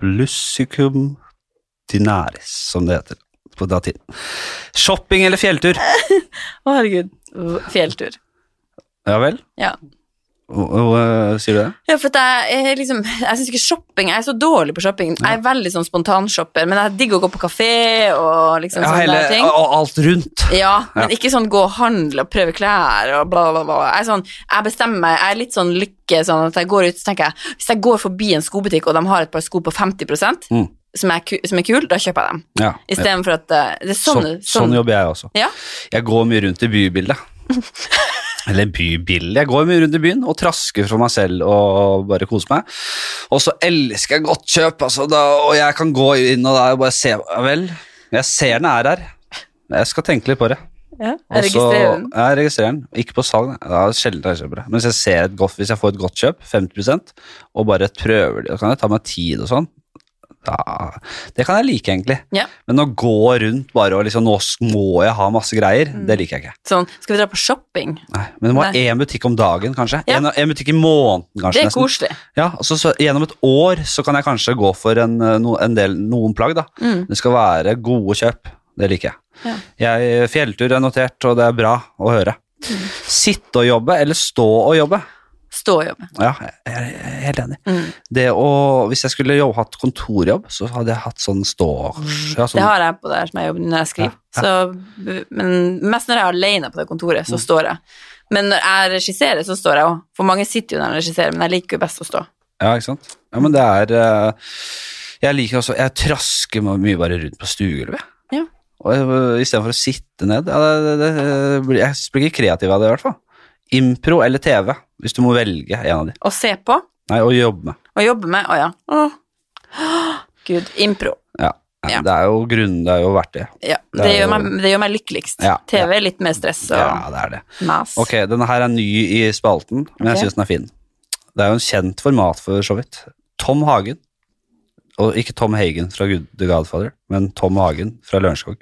Speaker 1: Ablussicum dinaris, som det heter på latin. Shopping eller fjelltur?
Speaker 2: Å, herregud. Fjelltur.
Speaker 1: Ja vel?
Speaker 2: Ja.
Speaker 1: Og- og, eh, sier du det?
Speaker 2: Ja, for at jeg, jeg, liksom, jeg synes ikke shopping Jeg er så dårlig på shopping. Jeg er veldig sånn spontanshopper, men jeg digger å gå på kafé og liksom
Speaker 1: Ja,
Speaker 2: sånne
Speaker 1: hele,
Speaker 2: der ting.
Speaker 1: og og alt rundt.
Speaker 2: Ja, men
Speaker 1: Ja.
Speaker 2: ikke sånn gå og handle og prøve klær og bla, bla, bla. Jeg, er sånn, jeg bestemmer meg. Jeg er litt sånn lykke sånn at jeg går ut så tenker jeg Hvis jeg går forbi en skobutikk og de har et par sko på 50
Speaker 1: Mm.
Speaker 2: som, er ku, som er kul, da kjøper jeg dem.
Speaker 1: Ja.
Speaker 2: Istedenfor at eh, Det er sånn,
Speaker 1: sånn,
Speaker 2: sånn,
Speaker 1: jobber jeg også.
Speaker 2: Ja.
Speaker 1: Jeg går mye rundt i bybildet. Eller bybildet. Jeg går mye rundt i byen og trasker for meg selv og bare koser meg. Og så elsker jeg godt kjøp, altså, da, og jeg kan gå inn og da bare se ja Vel, jeg ser den er her. Jeg skal tenke litt på det.
Speaker 2: ja,
Speaker 1: Og
Speaker 2: Jeg
Speaker 1: så-
Speaker 2: registrerer den.
Speaker 1: Ja, Jeg registrerer den. Ikke på salg, nei. Da er det sjelden jeg kjøper det. Men hvis jeg, ser et godt, hvis jeg får et godt kjøp, 50 og bare prøver det, da kan jeg ta meg tid og sånn. Da, det kan jeg like, egentlig.
Speaker 2: Ja,
Speaker 1: Men å gå rundt bare og liksom Nå må jeg ha masse greier, det liker jeg ikke.
Speaker 2: sånn. Skal vi dra på shopping?
Speaker 1: Nei. Men det må
Speaker 2: Nei.
Speaker 1: være én butikk om dagen, kanskje.
Speaker 2: Ja.
Speaker 1: En, en butikk i måneden, kanskje.
Speaker 2: Det er
Speaker 1: nesten.
Speaker 2: koselig.
Speaker 1: Ja, og så, så Gjennom et år så kan jeg kanskje gå for en, eh, no, en del, noen plagg, da.
Speaker 2: Mm.
Speaker 1: Det skal være gode kjøp. Det liker jeg.
Speaker 2: Ja.
Speaker 1: jeg eh, fjelltur er notert, og det er bra å høre.
Speaker 2: Mm.
Speaker 1: Sitte og jobbe, eller stå og jobbe.
Speaker 2: Stå og jobbe.
Speaker 1: Ja, jeg jeg er helt enig.
Speaker 2: Mm.
Speaker 1: Det å, hvis jeg skulle jobb, hatt kontorjobb, så hadde jeg hatt sånn stå... Ja, sånn,
Speaker 2: Mm. Det har jeg på der som jeg jobber når jeg skriver.
Speaker 1: Ja,
Speaker 2: Så, men mest når jeg er alene på det kontoret,
Speaker 1: Mm.
Speaker 2: så står jeg. Men når jeg regisserer, så står jeg òg. For mange sitter jo når de regisserer, men jeg liker jo best å stå.
Speaker 1: Ja, ikke sant? Ja, men det er eh, Jeg liker også Jeg trasker meg mye bare rundt på stuegulvet.
Speaker 2: Ja.
Speaker 1: Og jeg- eh, Istedenfor å sitte ned. Ja, det, det, det, blir- jeg blir ikke kreativ av det, i hvert fall. Impro eller TV, hvis du må velge en av de.
Speaker 2: Å se på
Speaker 1: Nei, å jobbe med.
Speaker 2: Å jobbe med, å ja. Åh. Åh, Gud, impro.
Speaker 1: Ja. Nei,
Speaker 2: Ja.
Speaker 1: Det er jo grunnen, det er jo verdt det.
Speaker 2: Ja,
Speaker 1: Det
Speaker 2: det,
Speaker 1: er
Speaker 2: gjør
Speaker 1: jo-
Speaker 2: meg, det gjør meg lykkeligst.
Speaker 1: Ja,
Speaker 2: TV er litt mer stress og
Speaker 1: Ja, det er det.
Speaker 2: mas.
Speaker 1: Ok, denne her er ny i spalten, men jeg
Speaker 2: Ok.
Speaker 1: synes den er fin. Det er jo en kjent format for så vidt. Tom Hagen, og ikke Tom Hagen fra Gud- The Godfather, men Tom Hagen fra Lørenskog.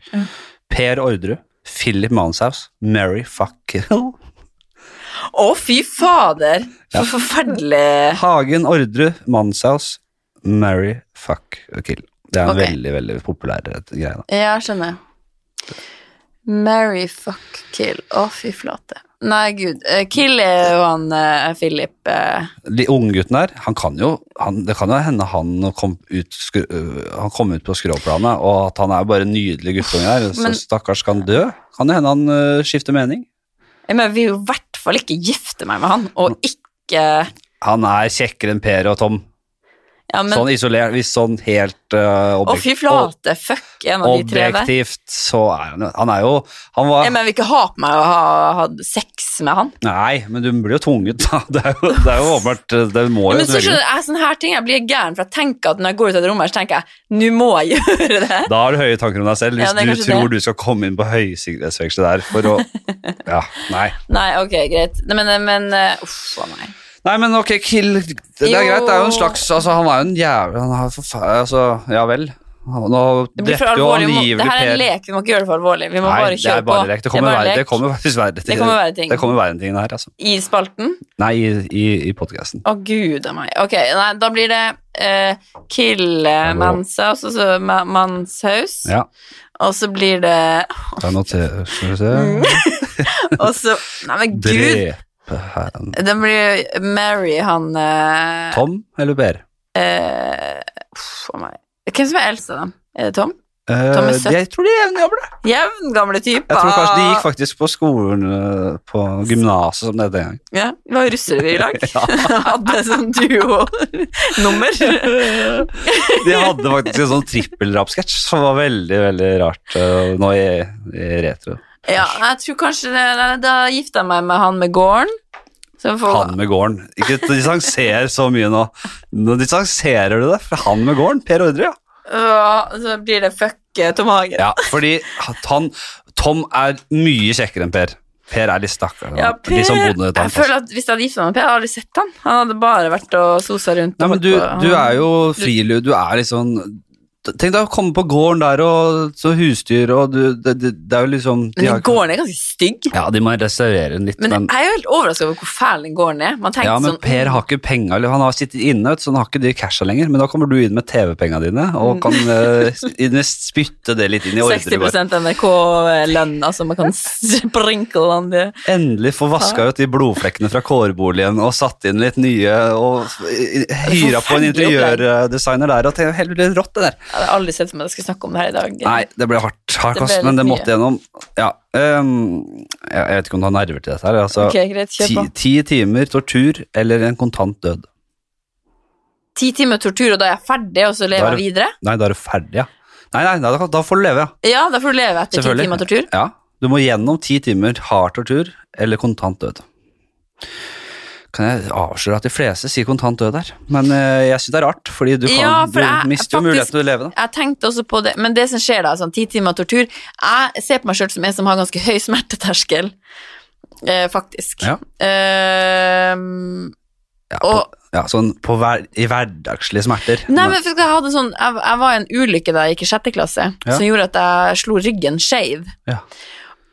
Speaker 1: Per Orderud, Philip Manshaus, Mary Fuckill.
Speaker 2: Å, fy fader! Så forferdelig.
Speaker 1: Hagen, Orderud, Manshaus, Mary Fuckill. Det er en
Speaker 2: Ok.
Speaker 1: veldig, veldig populær eh, greie. da.
Speaker 2: Ja, jeg skjønner. Mary fuck kill. Å, fy flate. Nei, gud. Eh, Kill er jo han eh, Philip eh,
Speaker 1: De Unggutten der, han kan jo, han, det kan jo hende han kom ut, skru, øh, han kom ut på skråplanet, og at han er bare en nydelig guttunge der, så
Speaker 2: Men-
Speaker 1: stakkars skal han dø. Kan det hende han øh, skifter mening?
Speaker 2: Jeg mener, vil jo i hvert fall ikke gifte meg med han, og ikke
Speaker 1: Han er kjekkere enn Per og Tom,
Speaker 2: Ja, men
Speaker 1: sånn isolert, hvis sånn helt øh,
Speaker 2: Å,
Speaker 1: objek-
Speaker 2: fy flate. Fuck en av de tre der.
Speaker 1: objektivt, så er han jo, han er jo, han var,
Speaker 2: Jeg mener, jeg vil ikke ha på meg å ha hatt sex med han.
Speaker 1: nei, men du blir jo tvunget da, det er jo, det er jo åpenbart, det må
Speaker 2: Ja,
Speaker 1: jo
Speaker 2: men så
Speaker 1: velge.
Speaker 2: skjønner du, jeg, sånne her ting, jeg blir gæren, for jeg tenker at når jeg går ut av det rommet, her, så tenker jeg nå må jeg gjøre det.
Speaker 1: Da har du høye tanker om deg selv, hvis
Speaker 2: Ja, det
Speaker 1: du
Speaker 2: er kanskje
Speaker 1: tror du skal komme inn på høysikkerhetsfengselet der, for å, ja, nei.
Speaker 2: Nei, ok, greit. Nei, men, men eh, uff å nei.
Speaker 1: Nei, men ok, Kill Det det er
Speaker 2: Jo.
Speaker 1: greit, det er jo en slags Altså, han er jo en jævel Han har forferdelig Altså, ja vel. Han- Nå
Speaker 2: Det blir for
Speaker 1: drepte jo
Speaker 2: alvorlig. Vi må-
Speaker 1: angivelig
Speaker 2: Det her er en
Speaker 1: Per
Speaker 2: lek, vi må ikke gjøre det for alvorlig. Vi må
Speaker 1: Nei, det
Speaker 2: bare
Speaker 1: er
Speaker 2: kjøre
Speaker 1: bare
Speaker 2: på.
Speaker 1: lek. Det kommer,
Speaker 2: er bare
Speaker 1: verre- det
Speaker 2: lek.
Speaker 1: kommer faktisk verre ting.
Speaker 2: Det kommer verre ting.
Speaker 1: Det kommer verre ting her, altså.
Speaker 2: I spalten.
Speaker 1: Nei, i, i, i podkasten.
Speaker 2: Å, gud a meg. Ok, nei, da blir det eh, kill eh,
Speaker 1: Det må-
Speaker 2: Manshaus, og så ma- Manshaus,
Speaker 1: Ja.
Speaker 2: og så blir det
Speaker 1: Da noterer Skal vi se
Speaker 2: Og så Nei, men Mm. gud!
Speaker 1: Drepe han
Speaker 2: Det blir Mary, han eh,
Speaker 1: Tom eller Per?
Speaker 2: eh, Uff a meg. Hvem som er eldst av dem? Er det Tom?
Speaker 1: Eh,
Speaker 2: Tom er søt.
Speaker 1: jeg tror de er jevngamle.
Speaker 2: Jevngamle typer.
Speaker 1: Jeg tror kanskje de gikk faktisk på skolen eh, på gymnaset som det het den gang.
Speaker 2: Ja, vi var jo russere i lag. Hadde sånn duo-nummer.
Speaker 1: De hadde faktisk en sånn trippelrapsketsj som var veldig, veldig rart eh, nå i, i retro.
Speaker 2: Ja, jeg tror kanskje det, nei, Da gifta jeg meg med han med gården. Så får,
Speaker 1: Han med gården. Ikke distanser så mye nå. Nå distanserer du deg fra han med gården, Per Ordre, ja.
Speaker 2: Ja, så blir det fuck eh, Tom Hagen.
Speaker 1: ja fordi at han, Tom er mye kjekkere enn Per. Per er litt stakkar.
Speaker 2: Ja,
Speaker 1: da. Litt sånn bonde,
Speaker 2: jeg føler at Hvis jeg hadde gifta meg med Per, jeg hadde aldri sett han Han hadde bare vært og sosa rundt.
Speaker 1: Nei, men
Speaker 2: og vært
Speaker 1: du,
Speaker 2: på-
Speaker 1: du er jo frilu, du er liksom Tenk deg å komme på gården der og så husdyr og du Det, det, det er jo liksom de
Speaker 2: Men
Speaker 1: har
Speaker 2: den
Speaker 1: ikke-
Speaker 2: gården er ganske stygg.
Speaker 1: Ja, de må restaurere den litt,
Speaker 2: Men jeg er jo helt overraska over hvor fæl den gården er. Man tenker
Speaker 1: Ja, men
Speaker 2: sånn
Speaker 1: Per har ikke penger, eller han har sittet inne, vet du, så han har ikke de casha lenger, men da kommer du inn med TV-penga dine, og
Speaker 2: Mm.
Speaker 1: kan eh, invest- spytte det litt inn i ordre. bare.
Speaker 2: 60 NRK-lønn, altså man kan sprinkle han det.
Speaker 1: Endelig få vaska ut de blodflekkene fra kårboligen og satt inn litt nye og hyra på en
Speaker 2: Forferdelig opplegg.
Speaker 1: interiørdesigner der og tenkte helvete rått det der.
Speaker 2: Jeg hadde aldri sett for meg at jeg skulle snakke om det her i dag.
Speaker 1: Nei, det ble hardt, hard
Speaker 2: Det ble
Speaker 1: kost,
Speaker 2: litt
Speaker 1: men det
Speaker 2: mye.
Speaker 1: måtte gjennom. Ja, ehm, jeg, jeg vet ikke om du har nerver til dette her. Altså,
Speaker 2: Ok, greit, kjør
Speaker 1: ti,
Speaker 2: på.
Speaker 1: ti timer tortur eller en kontant død.
Speaker 2: Ti timer tortur, og da er jeg ferdig, og
Speaker 1: Da
Speaker 2: så lever
Speaker 1: er
Speaker 2: jeg videre?
Speaker 1: Nei, da er du ferdig, ja. Nei, nei, nei da, da får du leve, ja.
Speaker 2: Ja, da får du leve etter ti
Speaker 1: Selvfølgelig.
Speaker 2: timer tortur.
Speaker 1: Ja, du må gjennom ti timer hard tortur eller kontant død. Kan jeg avsløre at de fleste sier kontant død her, men eh, jeg syns det er rart, fordi du, kan,
Speaker 2: Ja, for jeg-
Speaker 1: du mister jo
Speaker 2: faktisk-
Speaker 1: muligheten til å leve, da.
Speaker 2: Jeg tenkte også på det, men det som skjer da, sånn ti timer tortur Jeg ser på meg sjøl som en som har ganske høy smerteterskel, eh, faktisk.
Speaker 1: Ja.
Speaker 2: Eh,
Speaker 1: Ja,
Speaker 2: og
Speaker 1: på, ja, sånn på hver, i hverdagslige smerter.
Speaker 2: Nei, men for jeg, hadde sånn, jeg, jeg var i en ulykke da jeg gikk i sjette klasse,
Speaker 1: Ja.
Speaker 2: som gjorde at jeg slo ryggen skeiv.
Speaker 1: Ja.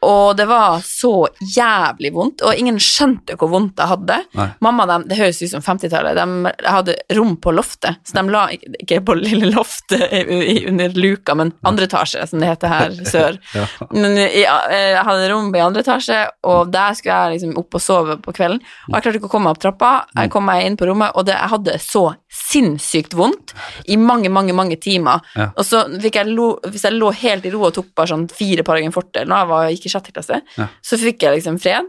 Speaker 2: Og det var så jævlig vondt, og ingen skjønte hvor vondt jeg hadde.
Speaker 1: Nei.
Speaker 2: Mamma, dem, det høres ut som 50-tallet, de hadde rom på loftet, så de la ikke- ikke på lille loftet i- i- under luka, men andre etasje, som det heter her sør.
Speaker 1: Ja.
Speaker 2: Men jeg, jeg hadde rom i andre etasje, og der skulle jeg liksom opp og sove på kvelden. Og jeg klarte ikke å komme meg opp trappa. Jeg kom meg inn på rommet, og det, jeg hadde så sinnssykt vondt i mange, mange mange timer.
Speaker 1: Ja.
Speaker 2: Og så fikk jeg lo, hvis jeg lå helt i ro og tok bare sånn fire Paragon Forte når jeg var, gikk i sjette klasse,
Speaker 1: Ja.
Speaker 2: så fikk jeg liksom fred.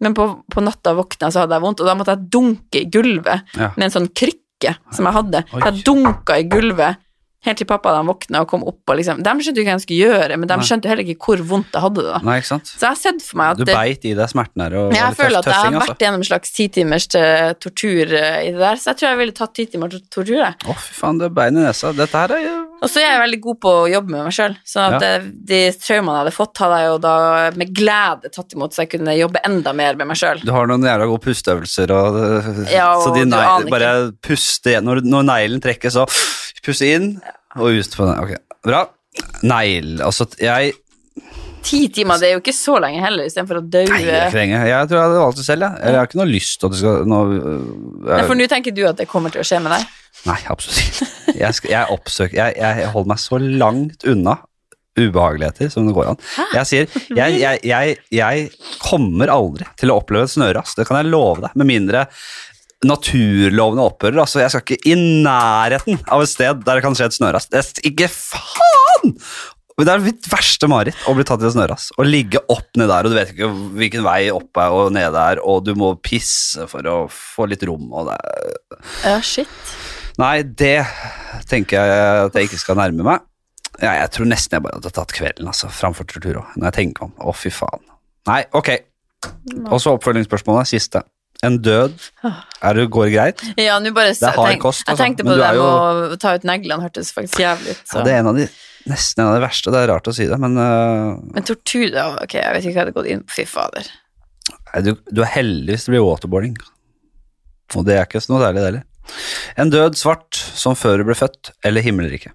Speaker 2: Men på, på natta våkna jeg, så hadde jeg vondt, og da måtte jeg dunke i gulvet
Speaker 1: Ja.
Speaker 2: med en sånn krykke som jeg hadde.
Speaker 1: Oi.
Speaker 2: Jeg dunka i gulvet Helt til pappa da han våkna og kom opp og liksom De skjønte jo ikke hva de skulle gjøre, men de
Speaker 1: Nei.
Speaker 2: skjønte jo heller ikke hvor vondt jeg hadde det. da.
Speaker 1: Nei, ikke sant?
Speaker 2: Så jeg har sett for meg at
Speaker 1: Du
Speaker 2: det,
Speaker 1: beit i deg smerten her og var
Speaker 2: jeg
Speaker 1: litt
Speaker 2: føler at jeg har
Speaker 1: tøffing, altså.
Speaker 2: vært gjennom en slags ti timers eh, tortur eh, i det der, så jeg tror jeg ville tatt ti timer tor- tortur, jeg.
Speaker 1: Å, fy faen, du har bein i nesa. Dette her er jo
Speaker 2: Og så er jeg veldig god på å jobbe med meg sjøl, så at eh, de traumene jeg hadde fått, hadde jeg jo da med glede tatt imot, så jeg kunne jobbe enda mer med meg sjøl.
Speaker 1: Du har noen jævla gode pusteøvelser, og, eh,
Speaker 2: Ja, og
Speaker 1: så de
Speaker 2: du
Speaker 1: nei,
Speaker 2: aner ikke.
Speaker 1: bare puste igjen. Når, når neglen trekkes, så puste inn og ut på den. Ok, bra. Negl Altså, jeg
Speaker 2: Ti timer, det er jo ikke så lenge heller, istedenfor
Speaker 1: Nei,
Speaker 2: å
Speaker 1: det er
Speaker 2: daue.
Speaker 1: ikke lenge. Jeg tror jeg hadde valgt det selv, jeg. Eller jeg har ikke noe lyst til at det skal nå, eh,
Speaker 2: Nei,
Speaker 1: jeg,
Speaker 2: For nå tenker du at det kommer til å skje med deg?
Speaker 1: Nei, absolutt ikke. Jeg, skal, jeg oppsøker jeg, jeg holder meg så langt unna ubehageligheter som det går an. Jeg sier, jeg, jeg, jeg, jeg kommer aldri til å oppleve et snøras, det kan jeg love deg, med mindre naturlovene opphører. Altså, jeg skal ikke i nærheten av et sted der det kan skje et snøras. Det er ikke faen! Men Det er mitt verste mareritt å bli tatt i et snøras. Å ligge opp ned der, og du vet ikke hvilken vei opp er og ned er, og du må pisse for å få litt rom, og det er
Speaker 2: Ja, shit.
Speaker 1: Nei, det tenker jeg at jeg ikke skal nærme meg. Ja, jeg tror nesten jeg bare hadde tatt kvelden altså, framfor tortur også, når jeg tenker meg om. Å, fy faen. Nei, ok. Og så oppfølgingsspørsmålet, siste. En død, er det, går det greit?
Speaker 2: Ja, nå bare
Speaker 1: er hard kost,
Speaker 2: Jeg
Speaker 1: altså,
Speaker 2: tenkte
Speaker 1: men
Speaker 2: på
Speaker 1: du
Speaker 2: det
Speaker 1: er
Speaker 2: med å ta ut neglene, hørtes faktisk jævlig ut.
Speaker 1: Ja,
Speaker 2: Så.
Speaker 1: det er en av de, nesten en av de verste, det er rart å si det, men øh,
Speaker 2: Men tortur, da? Ok, jeg vet ikke hva jeg hadde gått inn på. Fy fader.
Speaker 1: nei, du, du er heldig hvis det blir waterboarding. Og det er ikke noe særlig det heller. En død svart som før du ble født, eller himmelriket.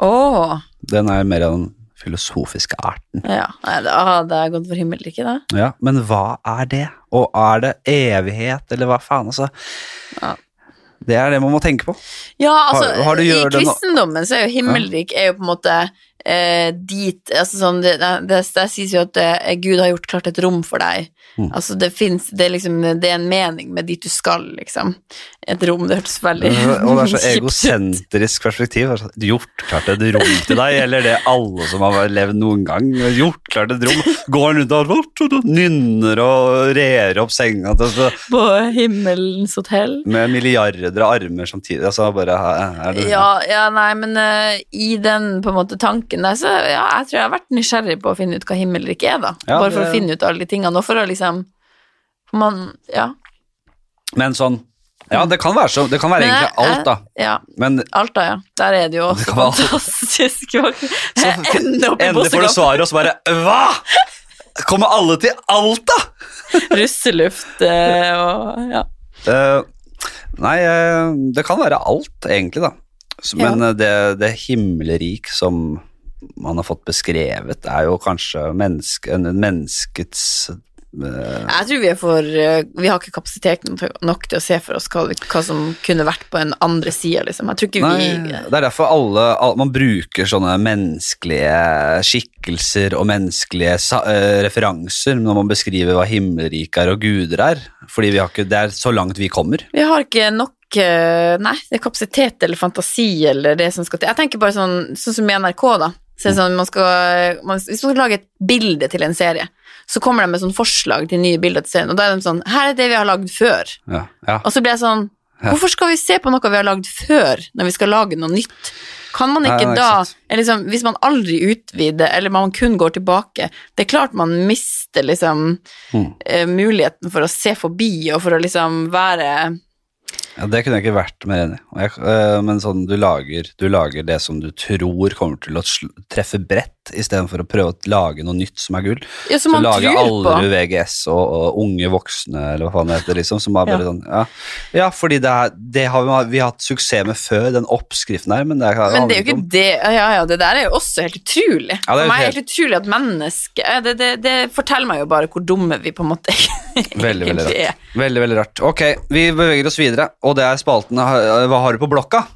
Speaker 2: Åh,
Speaker 1: Den er mer av den filosofiske arten.
Speaker 2: ja. Nei, da hadde jeg gått for himmelriket, da.
Speaker 1: Ja, men hva er det? Og er det evighet, eller hva faen, altså?
Speaker 2: Ja.
Speaker 1: Det er det man må tenke på.
Speaker 2: Ja, altså,
Speaker 1: Har- har du
Speaker 2: i
Speaker 1: gjør det nå?
Speaker 2: kristendommen så er jo himmelrik er jo på en måte eh, dit altså sånn, det, det, det, Der sies jo at eh, Gud har gjort klart et rom for deg.
Speaker 1: Mm.
Speaker 2: Altså, det fins Det er liksom Det er en mening med dit du skal, liksom. Et rom. Det hørtes veldig
Speaker 1: Og det er så
Speaker 2: kjipt ut.
Speaker 1: egosentrisk perspektiv. altså, Gjort klart et rom til deg, eller det alle som har levd noen gang. Gjort klart et rom. Går rundt og vort, og nynner og rer opp senga til så-
Speaker 2: På himmelens hotell.
Speaker 1: med milliarder av armer samtidig. Altså bare er det,
Speaker 2: Ja, ja, nei, men eh, i den på en måte tanken der, så ja, jeg tror jeg har vært nysgjerrig på å finne ut hva himmelrik er, da.
Speaker 1: Ja,
Speaker 2: Bare for
Speaker 1: det-
Speaker 2: å finne ut alle de tingene, og for å liksom for Man, ja.
Speaker 1: Men sånn Ja, det kan være, så, det kan være
Speaker 2: Men jeg-
Speaker 1: egentlig alt, da.
Speaker 2: ja.
Speaker 1: Men
Speaker 2: Alta, ja. Der er det jo
Speaker 1: Det kan være Alta.
Speaker 2: fantastisk vakkert. Ende opp i
Speaker 1: endelig får du
Speaker 2: Bossekamp.
Speaker 1: svaret, og så bare Hva?! Kommer alle til Alta?!
Speaker 2: Russeluft eh, og ja.
Speaker 1: Eh, nei, eh, det kan være alt, egentlig, da. Så,
Speaker 2: Ja.
Speaker 1: Men eh, det, det himmelrik som man har fått beskrevet, er jo kanskje menneske, en- en menneskets eh,
Speaker 2: Jeg tror vi er for eh, Vi har ikke kapasitet nok- nok til å se for oss hva, vi- hva som kunne vært på den andre sida, liksom. Jeg tror ikke
Speaker 1: Nei,
Speaker 2: vi
Speaker 1: det er derfor alle, al- man bruker sånne menneskelige skikkelser og menneskelige sa, eh, referanser når man beskriver hva himmelrik er og guder er. Fordi vi har ikke, det er så langt vi kommer.
Speaker 2: Vi har ikke nok eh, Nei, det er kapasitet eller fantasi eller det som skal til. Jeg tenker bare sånn, sånn som i NRK, da. Så er det sånn, man skal, man, hvis man skal lage et bilde til en serie, så kommer de med sånn forslag til nye bilder til serien, og da er de sånn Her er det vi har lagd før.
Speaker 1: Ja, ja.
Speaker 2: Og så blir jeg sånn Hvorfor skal vi se på noe vi har lagd før, når vi skal lage noe nytt? Kan man ikke
Speaker 1: Nei, nei,
Speaker 2: da
Speaker 1: ikke sant.
Speaker 2: eller liksom, Hvis man aldri utvider, eller man kun går tilbake Det er klart man mister liksom
Speaker 1: Mm.
Speaker 2: eh, muligheten for å se forbi, og for å liksom være
Speaker 1: Ja, Det kunne jeg ikke vært mer enig i. Og jeg- øh, Men sånn, du lager, du lager det som du tror kommer til å sl- treffe bredt, istedenfor å prøve å lage noe nytt som er gull.
Speaker 2: Ja,
Speaker 1: Så
Speaker 2: som man
Speaker 1: lager
Speaker 2: tror på.
Speaker 1: aldri VGS og, og unge voksne, eller hva faen det heter, liksom, som er bare
Speaker 2: Ja.
Speaker 1: sånn Ja, ja fordi det, er, det har vi, vi har hatt suksess med før, den oppskriften her, men det er,
Speaker 2: Men det er jo
Speaker 1: handler
Speaker 2: ikke det Ja, ja, det der er jo også helt utrolig.
Speaker 1: liksom. Ja, det er
Speaker 2: For meg er
Speaker 1: helt-
Speaker 2: det helt utrolig at mennesker det, det, det forteller meg jo bare hvor dumme vi på en måte
Speaker 1: Veldig, veldig
Speaker 2: egentlig
Speaker 1: rart.
Speaker 2: er.
Speaker 1: Veldig, veldig rart. Ok, vi beveger oss videre, og det er spalten eh, Hva har du på blokka?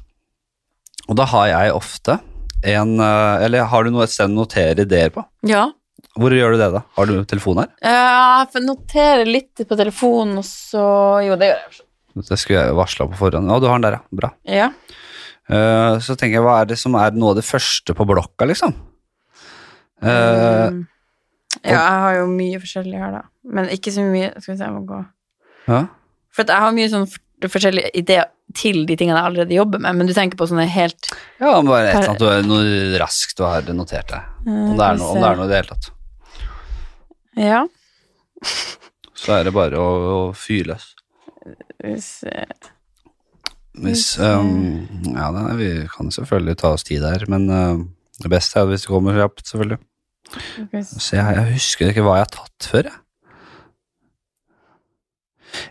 Speaker 1: Og da har jeg ofte en eh, Eller har du noe et sted å notere ideer på?
Speaker 2: Ja.
Speaker 1: Hvor gjør du det, da? Har du telefon her?
Speaker 2: Eh, Jeg noterer litt på telefonen, og så Jo, det gjør jeg.
Speaker 1: Det skulle jeg varsla på forhånd. Å, du har den der, ja. Bra.
Speaker 2: Ja.
Speaker 1: Eh, så tenker jeg, hva er det som er noe av det første på blokka, liksom? Eh,
Speaker 2: Mm. ja, jeg har jo mye forskjellig her, da. Men ikke så mye Skal vi se, jeg må gå
Speaker 1: ja.
Speaker 2: For at jeg har mye sånn f- forskjellige ideer til de tingene jeg allerede jobber med, men du tenker på sånne helt
Speaker 1: Ja, men bare et eller annet du er noe raskt du har notert deg. Om
Speaker 2: Eh,
Speaker 1: det er noe, om det er noe i det hele tatt.
Speaker 2: Ja.
Speaker 1: Så er det bare å, å fyre løs.
Speaker 2: Hvis, eh,
Speaker 1: Hvis, ehm, ja, nei, vi kan selvfølgelig ta oss tid der, men ehm, det beste er hvis det kommer kjapt, selvfølgelig.
Speaker 2: hvis-
Speaker 1: Se, her, jeg husker ikke hva jeg har tatt før, jeg.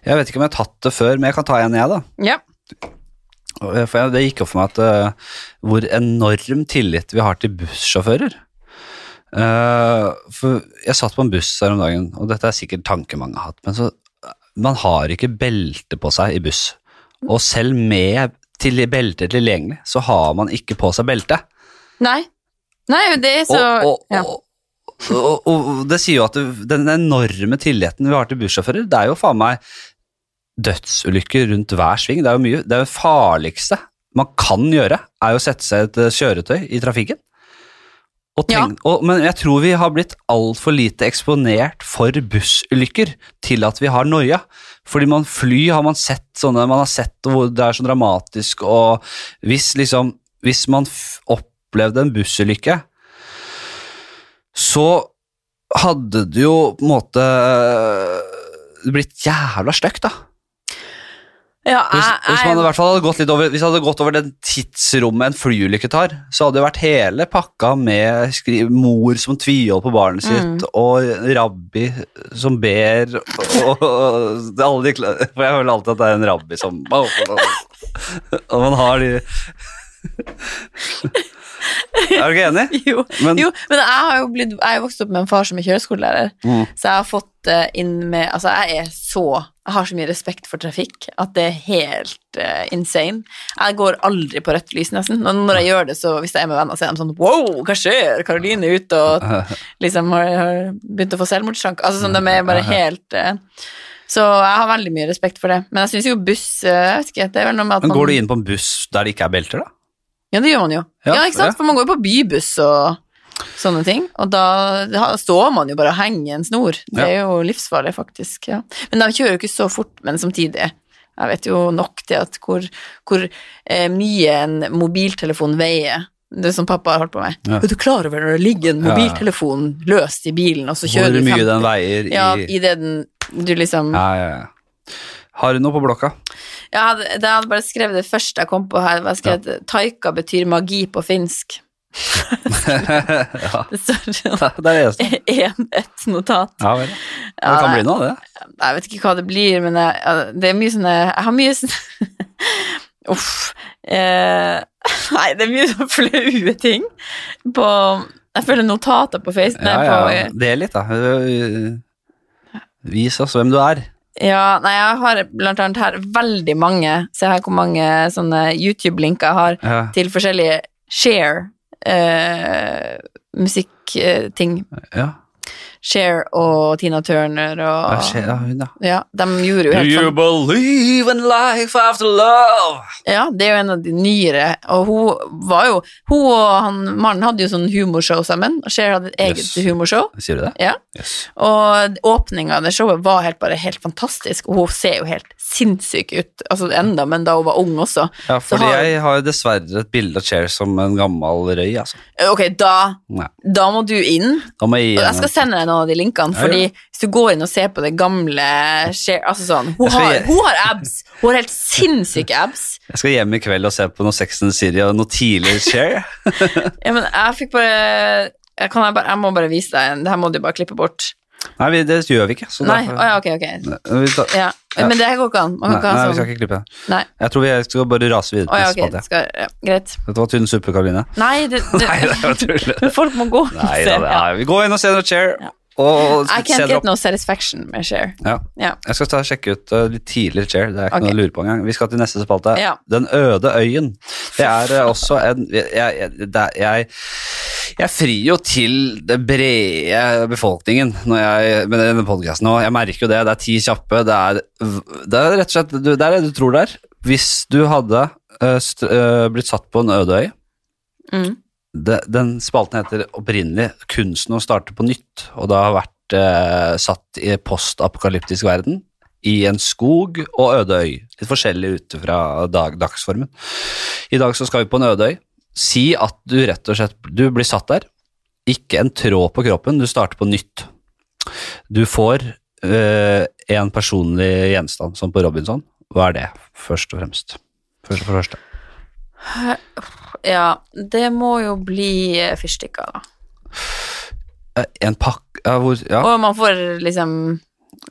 Speaker 1: Jeg vet ikke om jeg har tatt det før, men jeg kan ta en jeg, da.
Speaker 2: Ja.
Speaker 1: Og, eh, For jeg, det gikk opp for meg at eh, hvor enorm tillit vi har til bussjåfører. Eh, for jeg satt på en buss her om dagen, og dette er sikkert tanke mange har hatt, men så eh, man har ikke belte på seg i buss. Og selv med til belte tilgjengelig, så har man ikke på seg belte.
Speaker 2: Nei. Nei, det er
Speaker 1: Og,
Speaker 2: så
Speaker 1: og,
Speaker 2: ja.
Speaker 1: og, og, og det sier jo at det- den enorme tilliten vi har til bussjåfører, det er jo faen meg dødsulykker rundt hver sving. Det er jo mye, det er jo farligste man kan gjøre, er jo å sette seg i et eh, kjøretøy i trafikken. Og
Speaker 2: Ja.
Speaker 1: tenk, og, men jeg tror vi har blitt altfor lite eksponert for bussulykker til at vi har noia. Fordi man fly har man sett sånne, man har sett hvor det er så dramatisk, og hvis liksom, hvis man f opplevde en bussulykke, så hadde det jo på en måte eh, blitt jævla stygt, da.
Speaker 2: Ah, ja
Speaker 1: Hvis,
Speaker 2: jeg-
Speaker 1: hvis man i
Speaker 2: jeg-
Speaker 1: hvert fall hadde gått litt over Hvis det hadde gått over den tidsrommet en flyulykke tar, så hadde det vært hele pakka med skri, mor som tviholder på
Speaker 2: Mm.
Speaker 1: barnet sitt, og rabbi som ber og, og det er alle de, kla- For jeg føler alltid at det er en rabbi som Og man har de Er du ikke enig?
Speaker 2: jo,
Speaker 1: Men-
Speaker 2: jo, men jeg har jo blitt, jeg er vokst opp med en far som er kjøreskolelærer,
Speaker 1: Mm.
Speaker 2: så jeg har fått eh, inn med Altså, jeg er så Jeg har så mye respekt for trafikk at det er helt eh, insane. Jeg går aldri på rødt lys, nesten. Og når jeg gjør det, så hvis jeg er med venner, så er de sånn Wow, hva skjer? Karoline er ute og
Speaker 1: eh,
Speaker 2: liksom har, har begynt å få selvmordstanker. Altså sånn, de er
Speaker 1: Mm.
Speaker 2: bare helt eh, Så jeg har veldig mye respekt for det. Men jeg syns jo buss eh, Jeg vet ikke, det er vel noe med at
Speaker 1: Men
Speaker 2: man
Speaker 1: går du inn på en buss der det ikke er belter, da?
Speaker 2: Ja, det gjør man jo.
Speaker 1: Ja,
Speaker 2: Ja, ikke sant?
Speaker 1: ja.
Speaker 2: For man går jo på bybuss og sånne ting. Og da ha- står man jo bare og henger en snor. Det er jo livsfarlig, faktisk. Ja. Men de kjører jo ikke så fort, men samtidig. Jeg vet jo nok til at hvor, hvor eh, mye en mobiltelefon veier. Det er som pappa har holdt på med.
Speaker 1: Ja.
Speaker 2: Er du klar over når det ligger en
Speaker 1: Ja, ja.
Speaker 2: mobiltelefon løst i bilen, og så
Speaker 1: Hvor
Speaker 2: kjører du
Speaker 1: mye
Speaker 2: 50
Speaker 1: den veier i
Speaker 2: Ja, i det den Du liksom
Speaker 1: ja, ja, ja. Har du noe på blokka?
Speaker 2: Jeg hadde, jeg hadde bare skrevet det første jeg kom på her. Jeg skrev at Taika betyr magi på finsk.
Speaker 1: ja,
Speaker 2: Det står sånn
Speaker 1: det er det eneste.
Speaker 2: en, et notat.
Speaker 1: Ja vel.
Speaker 2: Ja,
Speaker 1: det kan
Speaker 2: nei,
Speaker 1: bli noe av det.
Speaker 2: Jeg vet ikke hva det blir, men jeg, ja, det er mye sånne Jeg har mye sånne Uff. Eh, nei, det er mye sånne flaue ting på Jeg føler notater på Face. Nei,
Speaker 1: Ja, ja,
Speaker 2: På,
Speaker 1: del litt, da. eh, Vis oss hvem du er.
Speaker 2: ja, nei, jeg har blant annet her veldig mange Se her hvor mange sånne YouTube-linker jeg har
Speaker 1: Ja,
Speaker 2: til forskjellige share eh, musikkting.
Speaker 1: ja.
Speaker 2: Share og Tina Turner og
Speaker 1: Hva skjer da, hun, da?
Speaker 2: Ja, de gjorde jo helt sånn
Speaker 1: believe in life after love?
Speaker 2: Ja, det er jo en av de nyere, og hun var jo Hun og han mannen hadde jo sånn humorshow sammen, og Cher hadde et eget
Speaker 1: Yes.
Speaker 2: humorshow.
Speaker 1: Sier du det?
Speaker 2: Ja.
Speaker 1: Yes.
Speaker 2: Og åpninga av det showet var helt, bare helt fantastisk, og hun ser jo helt sinnssyk ut, altså enda, men da hun var ung også.
Speaker 1: Ja, fordi
Speaker 2: har-
Speaker 1: jeg har jo dessverre et bilde av Cher som en gammel røy, altså.
Speaker 2: Eh, Ok, da,
Speaker 1: Nei.
Speaker 2: da må du inn,
Speaker 1: Da må jeg gi
Speaker 2: og jeg
Speaker 1: henne
Speaker 2: skal sende deg noen av de linkene,
Speaker 1: Ja, ja.
Speaker 2: fordi hvis du går inn og ser på det gamle Cher Altså sånn, hun
Speaker 1: Jeg skal
Speaker 2: har,
Speaker 1: gi-
Speaker 2: hun har abs! Hun har helt sinnssyke abs.
Speaker 1: Jeg skal hjem i kveld og se på noe Sex and the City og noe tidlig Cher.
Speaker 2: Ja, men jeg fikk bare jeg, kan jeg, bare, jeg må bare vise deg en, det her må du bare klippe bort.
Speaker 1: Nei, vi- det gjør vi ikke. Så
Speaker 2: Nei,
Speaker 1: derfor-
Speaker 2: å ja, ok, ok.
Speaker 1: Vi tar-
Speaker 2: Ja.
Speaker 1: Ja.
Speaker 2: Men det her går ikke an. Man
Speaker 1: Nei,
Speaker 2: kan Eh, ikke
Speaker 1: nei,
Speaker 2: ha
Speaker 1: vi skal
Speaker 2: sånn.
Speaker 1: ikke klippe det.
Speaker 2: Nei.
Speaker 1: Jeg tror vi skal bare rase videre.
Speaker 2: Å, ja,
Speaker 1: til neste
Speaker 2: ok.
Speaker 1: spalte.
Speaker 2: Skal, ja, greit.
Speaker 1: Dette var tynn suppe, Karoline.
Speaker 2: Nei, det, det,
Speaker 1: Nei, det var tull.
Speaker 2: men folk må gå. og
Speaker 1: Nei,
Speaker 2: se,
Speaker 1: da, det
Speaker 2: ja.
Speaker 1: er- vi går inn og ser noe chair. Og
Speaker 2: I
Speaker 1: se
Speaker 2: can't
Speaker 1: dere opp.
Speaker 2: get no satisfaction med Cher.
Speaker 1: Ja.
Speaker 2: Ja.
Speaker 1: Jeg skal ta og sjekke ut uh, litt tidligere chair. Det er ikke
Speaker 2: Ok.
Speaker 1: noe å lure på engang. Vi skal til neste spalte.
Speaker 2: Ja.
Speaker 1: Den øde øyen. Det er uh, også en jeg, jeg, det er- jeg, jeg frir jo til det brede befolkningen når jeg, med denne podkasten nå. Jeg merker jo det. Det er ti kjappe. Det er, det er rett og slett du, Det er det du tror det er. Hvis du hadde uh, st, uh, blitt satt på en øde øy
Speaker 2: Mm.
Speaker 1: det, den spalten heter opprinnelig 'Kunsten å starte på nytt', og det har vært eh, satt i postapokalyptisk verden. i en skog og øde øy. Litt forskjellig ut fra dag, dagsformen. I dag så skal vi på en øde øy. Si at du rett og slett du blir satt der. Ikke en tråd på kroppen, du starter på nytt. Du får eh, en personlig gjenstand, som på Robinson. Hva er det, først og fremst? Først og første.
Speaker 2: Ja, det må jo bli eh, fyrstikker, da.
Speaker 1: Eh, En pakke, ja, hvor, ja,
Speaker 2: Og man får liksom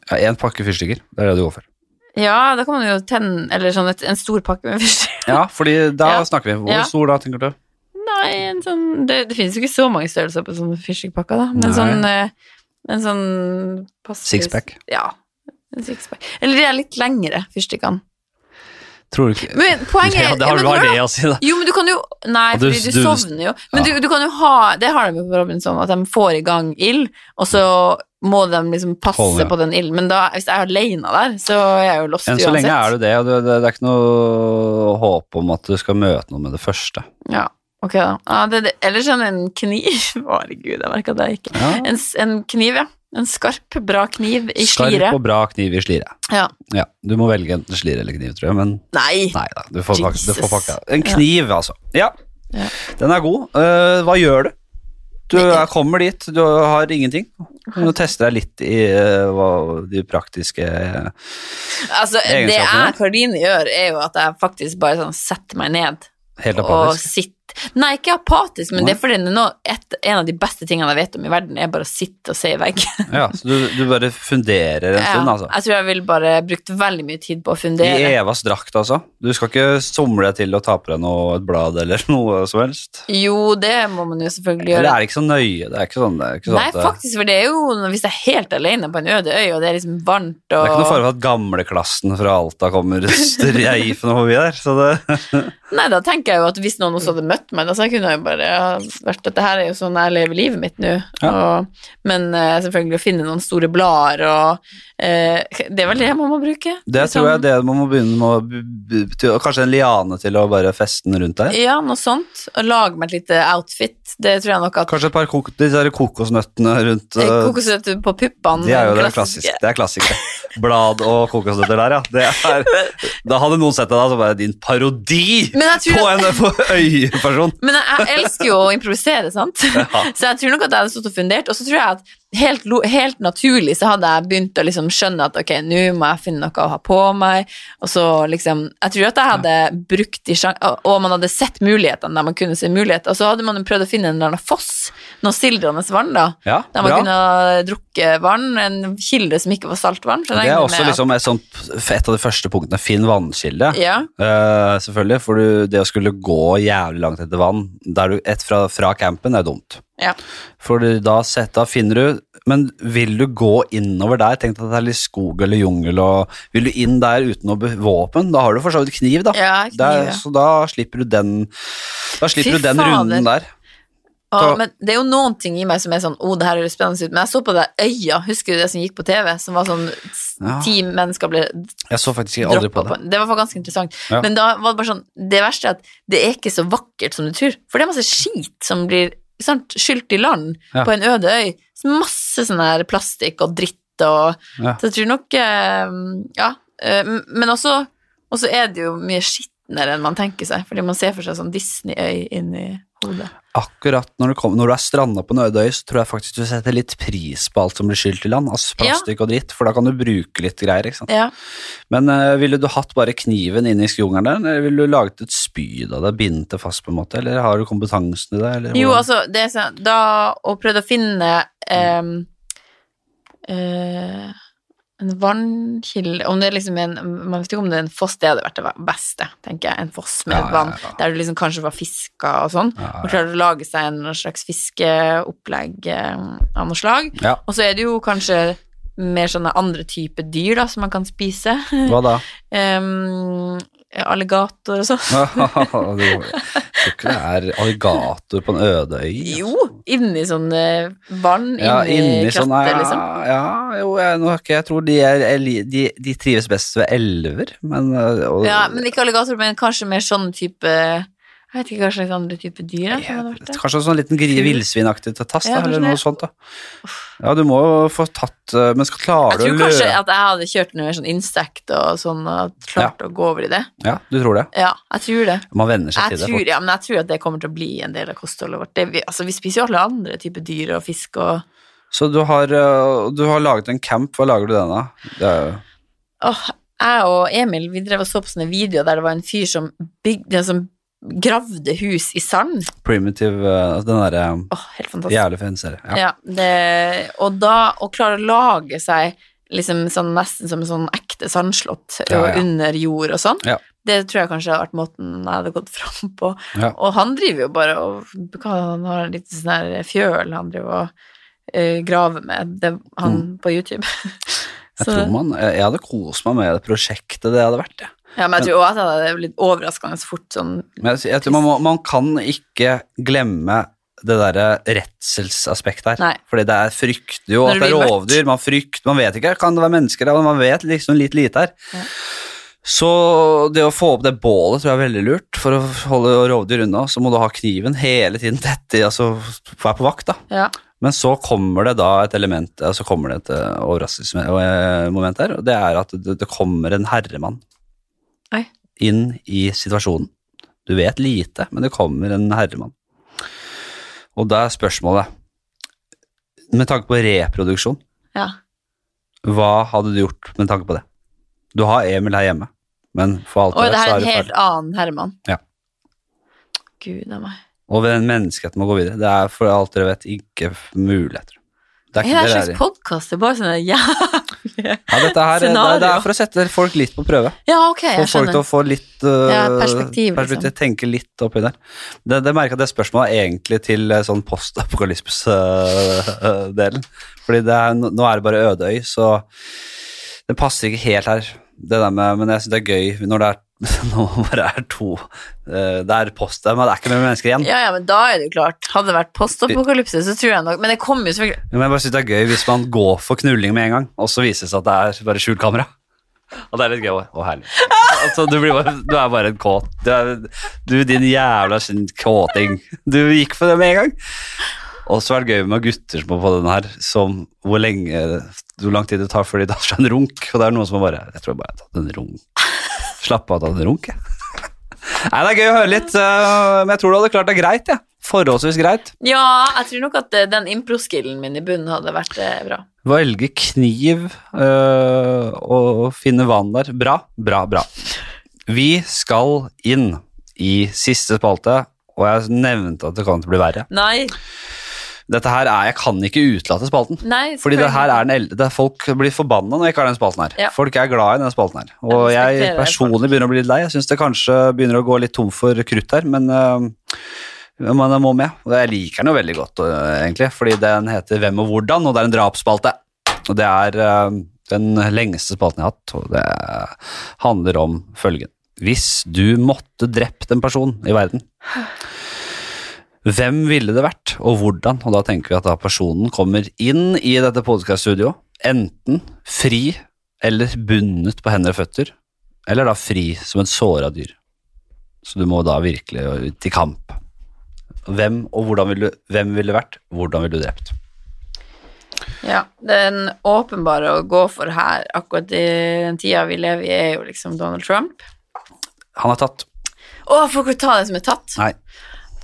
Speaker 1: ja, en pakke fyrstikker. Det er det du går for.
Speaker 2: Ja, da kan man jo tenne Eller sånn et, en stor pakke med fyrstikker.
Speaker 1: Ja, fordi da
Speaker 2: Ja.
Speaker 1: snakker vi. Hvor
Speaker 2: Ja.
Speaker 1: stor da, tenker du?
Speaker 2: Nei, en sånn Det, det finnes jo ikke så mange størrelser på sånne fyrstikkpakker, da. Men
Speaker 1: Nei.
Speaker 2: sånn eh, En sånn passe-
Speaker 1: Sixpack.
Speaker 2: Ja. En sixpack. Eller de er litt lengre, fyrstikkene.
Speaker 1: Tror du ikke
Speaker 2: Men poenget er
Speaker 1: Ja, det har
Speaker 2: men
Speaker 1: du har
Speaker 2: hvordan-
Speaker 1: det å si, da.
Speaker 2: Jo, men du kan jo Nei,
Speaker 1: Og du-
Speaker 2: fordi du,
Speaker 1: du-
Speaker 2: sovner jo.
Speaker 1: ja.
Speaker 2: Men du, du kan jo ha Det har de jo på Robinson, at de får i gang ild, og så må de liksom passe
Speaker 1: Holde, ja.
Speaker 2: på den ilden. Men da, hvis jeg er alene der, så er jeg jo lost
Speaker 1: Enn
Speaker 2: uansett.
Speaker 1: så lenge er du det, og det, det, det er ikke noe håp om at du skal møte noen med det første.
Speaker 2: Ja, ok da. Ja, det, det, eller sånn en kniv. Herregud, jeg merka det ikke.
Speaker 1: Ja.
Speaker 2: En, s- en kniv, ja. En skarp, bra kniv i slire.
Speaker 1: Skarp og bra kniv i slire.
Speaker 2: Ja.
Speaker 1: Ja, du må velge enten slire eller kniv, tror jeg, men
Speaker 2: Nei!
Speaker 1: nei da. Du får pakke, du
Speaker 2: Jesus.
Speaker 1: får pakke. En kniv, altså. Ja.
Speaker 2: Ja.
Speaker 1: Den er god. Eh, hva gjør du? Du er- kommer dit, du har ingenting. Du tester deg litt i eh, hva de praktiske eh,
Speaker 2: Altså, det
Speaker 1: Egenskapene?
Speaker 2: jeg Karoline gjør, er jo at jeg faktisk bare sånn setter meg ned
Speaker 1: Helt
Speaker 2: og
Speaker 1: apatisk.
Speaker 2: sitte Nei, ikke apatisk, men
Speaker 1: Nei.
Speaker 2: det er fordi det er nå- et, en av de beste tingene jeg vet om i verden, er bare å sitte og se i vegg.
Speaker 1: Ja, så du, du bare funderer en
Speaker 2: Ja,
Speaker 1: stund, altså.
Speaker 2: Jeg tror jeg ville bare brukt veldig mye tid på å
Speaker 1: I
Speaker 2: fundere.
Speaker 1: Evas drakt, altså. Du skal ikke somle deg til å ta på deg noe, et blad eller noe som helst.
Speaker 2: Jo, det må man jo selvfølgelig
Speaker 1: Eller
Speaker 2: gjøre.
Speaker 1: er det ikke så nøye? Det er ikke sånn, det er ikke sånn
Speaker 2: Nei,
Speaker 1: at det-
Speaker 2: faktisk, for det er jo hvis jeg er helt alene på en øde øy, og det er liksom varmt
Speaker 1: Det er ikke noe fare
Speaker 2: og
Speaker 1: for at gamleklassen fra Alta kommer streifende forbi der. Så det,
Speaker 2: Nei, da tenker jeg jo at hvis noen også hadde møtt meg, da så kunne jeg jo bare ja, vært at det her er jo sånn jeg lever livet mitt nå. Og, men eh, selvfølgelig å finne noen store blader og eh, Det er vel det man må bruke?
Speaker 1: det
Speaker 2: Litt
Speaker 1: tror jeg
Speaker 2: sånn-
Speaker 1: det man må begynne med å b- b- til, Kanskje en liane til å bare feste den rundt der.
Speaker 2: Ja, noe sånt. Og lage meg et lite outfit. Det tror jeg nok at
Speaker 1: Kanskje et par kok de der kokosnøttene rundt
Speaker 2: Eh,
Speaker 1: eh,
Speaker 2: Kokosnøtter på puppene.
Speaker 1: De er jo
Speaker 2: den
Speaker 1: det klassiske. Det er klassiske. Blad og kokosnøtter der, ja. Det er, da hadde noen sett deg da, så bare din parodi
Speaker 2: Men
Speaker 1: på
Speaker 2: jeg, tror at,
Speaker 1: en på øyeperson.
Speaker 2: men jeg, jeg elsker jo å improvisere, sant?
Speaker 1: Ja.
Speaker 2: Så jeg tror nok at jeg hadde stått og fundert, og så tror jeg at helt, lo- helt naturlig så hadde jeg begynt å liksom skjønne at ok, nå må jeg finne noe å ha på meg, og så liksom Jeg tror at jeg hadde brukt de sjansene, og man hadde sett mulighetene der man kunne se muligheter, og så hadde man jo prøvd å finne en eller annen foss, noe sildrende vann, da.
Speaker 1: Ja,
Speaker 2: Der man kunne ha drukket vann, en kilde som ikke var saltvann. for jeg
Speaker 1: Det er
Speaker 2: regner
Speaker 1: også
Speaker 2: med at-
Speaker 1: liksom et, sånt, et av de første punktene. Finn vannkilde.
Speaker 2: Ja,
Speaker 1: Eh, selvfølgelig, for du, det å skulle gå jævlig langt etter vann der du, et fra, fra campen er dumt.
Speaker 2: ja.
Speaker 1: For du- da, sett, da finner du Men vil du gå innover der? Tenk deg at det er litt skog eller jungel. Og, vil du inn der uten å be- våpen? Da har du for så vidt kniv, da.
Speaker 2: Ja, kniv,
Speaker 1: Der-
Speaker 2: ja.
Speaker 1: Så da slipper du den Da slipper
Speaker 2: Fy
Speaker 1: du den
Speaker 2: fader.
Speaker 1: runden der.
Speaker 2: Å,
Speaker 1: Ta-
Speaker 2: men det er jo noen ting i meg som er sånn Å, det her høres spennende ut. Men jeg så på det øya, husker du det som gikk på TV? Som var sånn s-
Speaker 1: Ja.
Speaker 2: Ti mennesker ble
Speaker 1: Jeg så faktisk aldri
Speaker 2: droppa
Speaker 1: på
Speaker 2: på.
Speaker 1: det.
Speaker 2: Det var faktisk ganske interessant.
Speaker 1: Ja.
Speaker 2: Men da var det bare sånn Det verste er at det er ikke så vakkert som du tror. For det er masse skit som blir sant, skylt i land
Speaker 1: Ja.
Speaker 2: på en øde øy. Så Masse sånn her plastikk og dritt og
Speaker 1: Ja.
Speaker 2: Så jeg tror nok eh, Ja. eh, Men også, også er det jo mye skitnere enn man tenker seg. Fordi man ser for seg sånn Disney-øy inni hodet.
Speaker 1: Akkurat når du, kommer- når du er stranda på en øde øy, så tror jeg faktisk du setter litt pris på alt som blir skylt i land. Altså
Speaker 2: Ja.
Speaker 1: plastikk og dritt, for da kan du bruke litt greier. ikke sant?
Speaker 2: Ja.
Speaker 1: Men eh, ville du hatt bare kniven inn i skogeren der, eller ville du laget et spyd av det, bindet det fast på en måte, eller har du kompetansen i det? Eller,
Speaker 2: Jo,
Speaker 1: hvordan-
Speaker 2: altså, det er sånn Da å prøve å finne ehm, eh, en vannkilde Om det er liksom en Man vet ikke om det er en foss, det hadde vært det beste, tenker jeg. En foss med
Speaker 1: Ja,
Speaker 2: et
Speaker 1: ja,
Speaker 2: vann,
Speaker 1: ja.
Speaker 2: der du liksom kanskje var fiska og sånn.
Speaker 1: Ja,
Speaker 2: Og klarer å lage seg en slags fiskeopplegg eh, av noe slag.
Speaker 1: Ja.
Speaker 2: Og så er det jo kanskje mer sånne andre typer dyr da, som man kan spise.
Speaker 1: Hva da?
Speaker 2: Ehm, alligator og sånn.
Speaker 1: Jeg tror ikke det er alligator på en øde øy. altså.
Speaker 2: Jo, inni sånn eh, vann,
Speaker 1: Ja,
Speaker 2: inni,
Speaker 1: inni
Speaker 2: kratter,
Speaker 1: sånn ja,
Speaker 2: liksom.
Speaker 1: ja, jo, jeg, nå, har ikke- jeg tror de, er, eli- de, de trives best ved elver, men, eh, og,
Speaker 2: sånn Ja, men ikke alligator, men kanskje mer sånn type Jeg Jeg vet ikke hva slags andre type dyr som hadde vært der.
Speaker 1: Kanskje en sånn liten gri- villsvinaktig tass, da,
Speaker 2: Ja,
Speaker 1: eller
Speaker 2: kanskje
Speaker 1: noe
Speaker 2: det.
Speaker 1: sånt. da. Ja, du må jo få tatt eh, Men skal klare
Speaker 2: Jeg
Speaker 1: du å
Speaker 2: tror kanskje
Speaker 1: lø-
Speaker 2: at jeg hadde kjørt noe mer sånn insekt og sånn, og klart å gå over i det.
Speaker 1: Ja, du tror det?
Speaker 2: Ja, jeg tror det.
Speaker 1: Man venner seg
Speaker 2: Jeg
Speaker 1: til det.
Speaker 2: tror,
Speaker 1: fort.
Speaker 2: ja, men jeg tror at det kommer til å bli en del av kostholdet vårt. Det, vi, altså, vi spiser jo alle andre typer dyr og fisk og
Speaker 1: Så du har, eh, du har laget en camp. Hva lager du den av? Det er jo
Speaker 2: Åh, jeg og Emil vi drev og så på sånne videoer der det var en fyr som bygde en sånn gravde hus i sand.
Speaker 1: primitive eh, altså Den derre
Speaker 2: Åh, helt fantastisk.
Speaker 1: jævlig fin serie. Ja.
Speaker 2: Ja, det, og da å klare å lage seg liksom sånn, nesten som en sånn ekte sandslott
Speaker 1: Ja,
Speaker 2: og
Speaker 1: ja.
Speaker 2: under jord og sånn,
Speaker 1: Ja.
Speaker 2: det tror jeg kanskje hadde vært måten jeg hadde gått fram på.
Speaker 1: Ja.
Speaker 2: Og han driver jo bare og hva, Han har en liten sånn her fjøl han driver og eh, graver med, det, han på YouTube.
Speaker 1: Mm. Jeg tror man, jeg, jeg hadde kost meg med det prosjektet det hadde vært. jeg.
Speaker 2: ja, men jeg tror også at det er litt overraskende så fort sånn
Speaker 1: Men jeg, jeg tror man, må, man kan ikke glemme det derre redselsaspektet her.
Speaker 2: Nei.
Speaker 1: Fordi det er frykter jo
Speaker 2: Når
Speaker 1: at
Speaker 2: det
Speaker 1: det er
Speaker 2: blir mørkt.
Speaker 1: rovdyr, man frykter, man vet ikke, kan det være mennesker der, men man vet liksom litt lite her.
Speaker 2: Ja.
Speaker 1: Så det å få opp det bålet tror jeg er veldig lurt. For å holde rovdyr unna, så må du ha kniven hele tiden tett i, altså være på vakt, da.
Speaker 2: Ja.
Speaker 1: Men så kommer det da et element, ja, så kommer det et eh, overraskelsesmoment her, og det er at det, det kommer en herremann
Speaker 2: Oi.
Speaker 1: inn i situasjonen. Du vet lite, men det kommer en herremann. Og da er spørsmålet, med tanke på reproduksjon,
Speaker 2: ja.
Speaker 1: hva hadde du gjort med tanke på det? Du har Emil her hjemme, men for alt
Speaker 2: Og
Speaker 1: det
Speaker 2: det
Speaker 1: vet,
Speaker 2: her
Speaker 1: så er
Speaker 2: er en
Speaker 1: det
Speaker 2: helt
Speaker 1: ferdig.
Speaker 2: annen Herman.
Speaker 1: Ja.
Speaker 2: Gud a meg.
Speaker 1: Og den menneskeheten må gå videre. Det er for alt dere vet ikke muligheter. Det
Speaker 2: Hva er det
Speaker 1: dere
Speaker 2: slags
Speaker 1: i.
Speaker 2: podkast? Det er bare sånne jævlige
Speaker 1: Ja, dette her, det, er- det
Speaker 2: Scenario.
Speaker 1: er for å sette folk litt på prøve.
Speaker 2: Ja, ok,
Speaker 1: Få
Speaker 2: jeg
Speaker 1: folk til
Speaker 2: skjønner.
Speaker 1: å få litt uh,
Speaker 2: Ja, perspektiv, liksom.
Speaker 1: perspektiv, Tenke litt oppi der. Det, det merker jeg at det spørsmålet er egentlig til eh, sånn postapokalypse-delen. Fordi det er, nå nå er det bare øde øy, så det passer ikke helt her. Det der med, men jeg syns det er gøy når det er nå bare er to eh, Det er post der, men det er ikke mer mennesker igjen.
Speaker 2: Ja, ja, men da er det jo klart. Hadde det vært postapokalypse, så tror jeg nok Men det kommer jo selvfølgelig
Speaker 1: Men jeg bare syns det er gøy hvis man går for knulling med en gang, og så viser det seg at det er bare skjult kamera. Og det er litt gøy også. og herlig. Altså, du, blir bare, du er bare en kåt. Du, er, du din jævla sin kåting. Du gikk for det med en gang. Og så er det gøy med gutter som er på den her, som hvor lenge hvor lang tid det tar før de tar seg en runk. Og det er noen som er bare Jeg tror bare jeg har tatt en runk. Slapp av, tatt en runk, jeg. Nei, det er gøy å høre litt, øh, men jeg tror du hadde klart det greit, jeg. Forholdsvis greit.
Speaker 2: Ja, jeg tror nok at eh, den impro-skillen min i bunnen hadde vært eh, bra.
Speaker 1: Velge kniv øh, og finne vann der. Bra, bra, bra. Vi skal inn i siste spalte, og jeg nevnte at det kan ikke bli verre.
Speaker 2: Nei.
Speaker 1: Dette her er, Jeg kan ikke utelate spalten.
Speaker 2: Nei
Speaker 1: Fordi det her er den eldre, det er Folk blir forbanna når jeg ikke har den spalten her.
Speaker 2: Ja.
Speaker 1: Folk er glad i den spalten her. Og
Speaker 2: Jeg
Speaker 1: jeg,
Speaker 2: respekterer den
Speaker 1: personlig begynner å bli litt lei. Jeg syns det kanskje begynner å gå litt tom for krutt her, men øh, man må med. Og jeg liker den jo veldig godt, øh, egentlig, fordi den heter Hvem og hvordan, og det er en drapsspalte. Og det er øh, den lengste spalten jeg har hatt, og det handler om følgen. Hvis du måtte drept en person i verden, hvem ville det vært, og hvordan? Og da tenker vi at da personen kommer inn i dette podkaststudioet, enten fri eller bundet på hender og føtter, eller da fri som et såra dyr. Så du må da virkelig ut i kamp. Hvem og hvordan ville du, hvem ville det vært, hvordan ville du drept?
Speaker 2: Ja, Den åpenbare å gå for her akkurat i den tida vi lever i, er jo liksom Donald Trump.
Speaker 1: Han er tatt.
Speaker 2: Å, folk vil ta den som er tatt.
Speaker 1: Nei.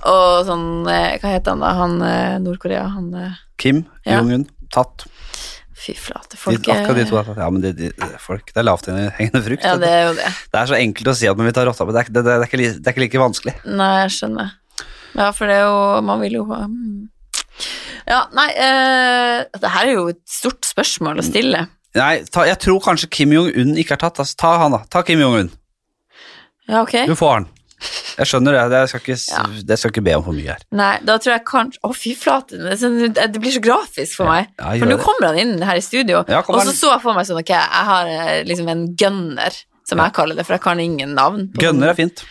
Speaker 2: Og sånn eh, Hva heter han da? Han eh, Nord-Korea, han eh,
Speaker 1: Kim
Speaker 2: Ja.
Speaker 1: Jong-un, tatt.
Speaker 2: Fy flate,
Speaker 1: De,
Speaker 2: folk er-
Speaker 1: akkurat de to er tatt. Ja, men de, de, folk, det er lavthengende frukt.
Speaker 2: Ja, det
Speaker 1: det.
Speaker 2: er jo det.
Speaker 1: er så enkelt å si at man vil ta rotta på, det er, ikke- det, det, det, er ikke, li- det er ikke like vanskelig.
Speaker 2: Nei, jeg skjønner. Ja, for det er jo Man vil jo ha mm. Ja, nei eh, Det her er jo et stort spørsmål å stille.
Speaker 1: Nei, ta, jeg tror kanskje Kim Jong-un ikke er tatt. Altså, ta han, da. Ta Kim Jong-un.
Speaker 2: Ja, ok?
Speaker 1: Du får han. Jeg skjønner det. Jeg skal ikke, s-
Speaker 2: Ja.
Speaker 1: det skal ikke be om for mye her.
Speaker 2: Nei, da tror jeg kanskje Å, fy flate, det, er sånn- det blir så grafisk for meg.
Speaker 1: Ja, gjør
Speaker 2: For nå
Speaker 1: det.
Speaker 2: kommer han inn her i studio,
Speaker 1: Ja,
Speaker 2: og
Speaker 1: kommer
Speaker 2: så
Speaker 1: han.
Speaker 2: så jeg for meg sånn Ok, jeg har eh, liksom en gunner, som jeg kaller det, for jeg kan ingen navn. på sånn-
Speaker 1: Gønner er fint.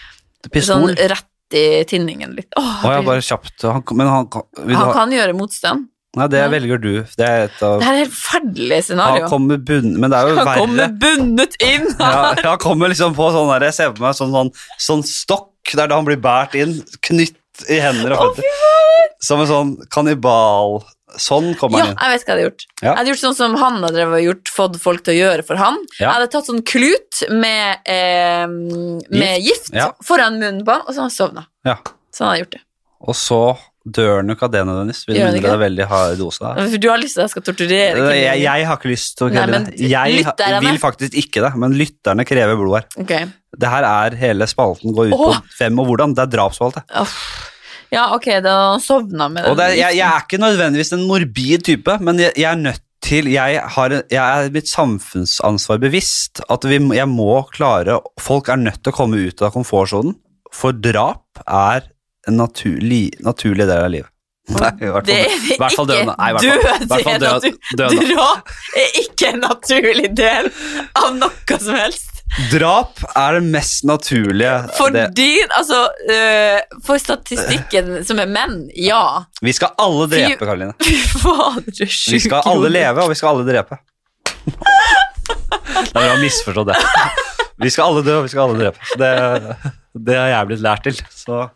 Speaker 1: Pistol.
Speaker 2: Sånn rett i tinningen litt. Åh,
Speaker 1: Å, ja, bare kjapt. Han, men han, kan- vil du ha,
Speaker 2: han kan gjøre motstand.
Speaker 1: nei, det velger du. Det er et av
Speaker 2: Det her er et helt forferdelig
Speaker 1: Han
Speaker 2: scenario.
Speaker 1: kommer bunn... Men det er jo
Speaker 2: Han
Speaker 1: verre.
Speaker 2: kommer bundet inn!
Speaker 1: Ja, han kommer liksom på sånn der Jeg ser på meg sånn, sånn, sånn stokk Det er da han blir båret inn, knytt i hender og
Speaker 2: Å, fy
Speaker 1: føtter. Som en sånn kannibal. Sånn kommer
Speaker 2: Ja,
Speaker 1: han inn.
Speaker 2: jeg vet hva jeg hadde gjort.
Speaker 1: Ja.
Speaker 2: Jeg hadde gjort sånn som han hadde drevet og gjort, fått folk til å gjøre for han.
Speaker 1: Ja.
Speaker 2: Jeg hadde tatt sånn klut med, eh, med gift,
Speaker 1: Ja.
Speaker 2: foran munnen på han, og så hadde han sovna.
Speaker 1: Ja.
Speaker 2: Sånn hadde jeg gjort det.
Speaker 1: Og så dør nok av det nødvendigvis, med
Speaker 2: Gjør han
Speaker 1: mindre det
Speaker 2: ikke?
Speaker 1: er veldig hard dose. Da.
Speaker 2: For du har lyst til at jeg skal torturere
Speaker 1: Jeg,
Speaker 2: kvinnen.
Speaker 1: jeg har ikke lyst til å
Speaker 2: Nei,
Speaker 1: kreve
Speaker 2: men
Speaker 1: det. Jeg ha-
Speaker 2: lytterne-
Speaker 1: vil faktisk ikke det, men lytterne krever blod her.
Speaker 2: Ok.
Speaker 1: Det her er hele spalten går ut på
Speaker 2: Åh!
Speaker 1: hvem og hvordan. Det er drapsspalte.
Speaker 2: Uff. Ja, ok, da hadde han sovna med
Speaker 1: Og det er,
Speaker 2: den
Speaker 1: jeg, jeg er ikke nødvendigvis en morbid type, men jeg, jeg er nødt til jeg, har, jeg er mitt samfunnsansvar bevisst. At vi, må- jeg må klare Folk er nødt til å komme ut av komfortsonen, for drap er en naturlig, naturlig del av livet. Nei, i hvert fall,
Speaker 2: Mm. Det er
Speaker 1: i hvert fall
Speaker 2: ikke
Speaker 1: døden. Nei, i hvert fall- i
Speaker 2: død,
Speaker 1: hvert fall
Speaker 2: det er
Speaker 1: død, døden.
Speaker 2: natu- Drap er ikke en naturlig del av noe som helst.
Speaker 1: Drap er det mest naturlige.
Speaker 2: For
Speaker 1: Det,
Speaker 2: din, altså eh, For statistikken som er menn, ja.
Speaker 1: vi skal alle
Speaker 2: Fy-
Speaker 1: drepe, Karoline.
Speaker 2: Fy fader, du er sjuk.
Speaker 1: Vi skal alle
Speaker 2: Jon.
Speaker 1: leve, og vi skal alle drepe. Nei, men jeg har misforstått det. Vi skal alle dø, og vi skal alle drepe. Så Det, det har jeg blitt lært til. Så.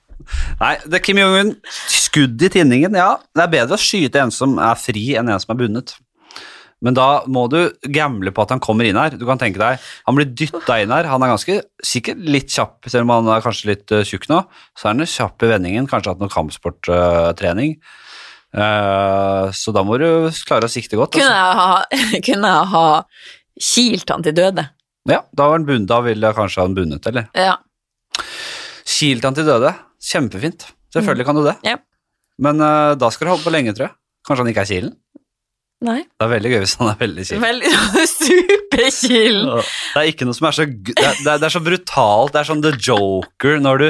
Speaker 1: Nei, det er Kim Jong-un. Skudd i tinningen, ja. Det er bedre å skyte en som er fri, enn en som er bundet. Men da må du gamble på at han kommer inn her. Du kan tenke deg, Han blir dytta inn her. Han er ganske sikkert litt kjapp, selv om han er kanskje litt eh, tjukk nå. Så er han jo kjapp i vendingen, kanskje hatt noe kampsporttrening. Eh, så da må du klare å sikte godt. altså.
Speaker 2: Kunne jeg ha, kunne jeg ha kilt han til døde?
Speaker 1: Ja, da var han bundet, da ville jeg kanskje ha han bundet, eller?
Speaker 2: Ja.
Speaker 1: Kilt han til døde, kjempefint. Selvfølgelig kan du det.
Speaker 2: Ja.
Speaker 1: Men eh, da skal du holde på lenge, tror jeg. Kanskje han ikke er kilen?
Speaker 2: Nei.
Speaker 1: Det er veldig gøy hvis han er veldig kilen.
Speaker 2: Veldig superkilen.
Speaker 1: Det er ikke noe som er så g- det er, det er, det er så brutalt, det er sånn The Joker når du,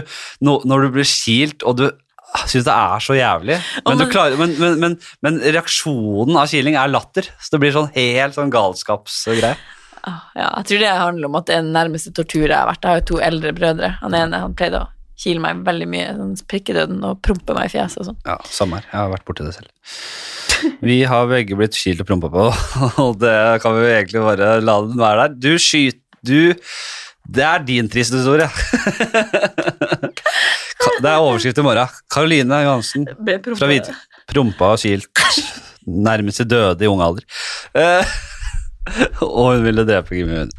Speaker 1: no, når du blir kilt og du ah, synes det er så jævlig. Men, du
Speaker 2: men-
Speaker 1: klarer, men, men, men, men reaksjonen av kiling er latter, så det blir sånn helt sånn galskapsgreie.
Speaker 2: Ah, Ja, jeg tror det handler om at det er den nærmeste tortur jeg har vært. Jeg har jo to eldre brødre. Han ene han pleide å kile meg veldig mye, sånn prikkedøden, og prompe meg i fjeset og sånn.
Speaker 1: Ja, samme her. Jeg har vært borti det selv. Vi har begge blitt kilt og prompa på, og det kan vi jo egentlig bare la den være der. Du skyter Du Det er din triste historie. Ka- Det er overskrift i morgen. Karoline Johansen
Speaker 2: Ble prompa.
Speaker 1: fra Hvite. Prompa og kilt nærmest til døde i ung alder. Eh, og hun ville drepe Kim Jong-un.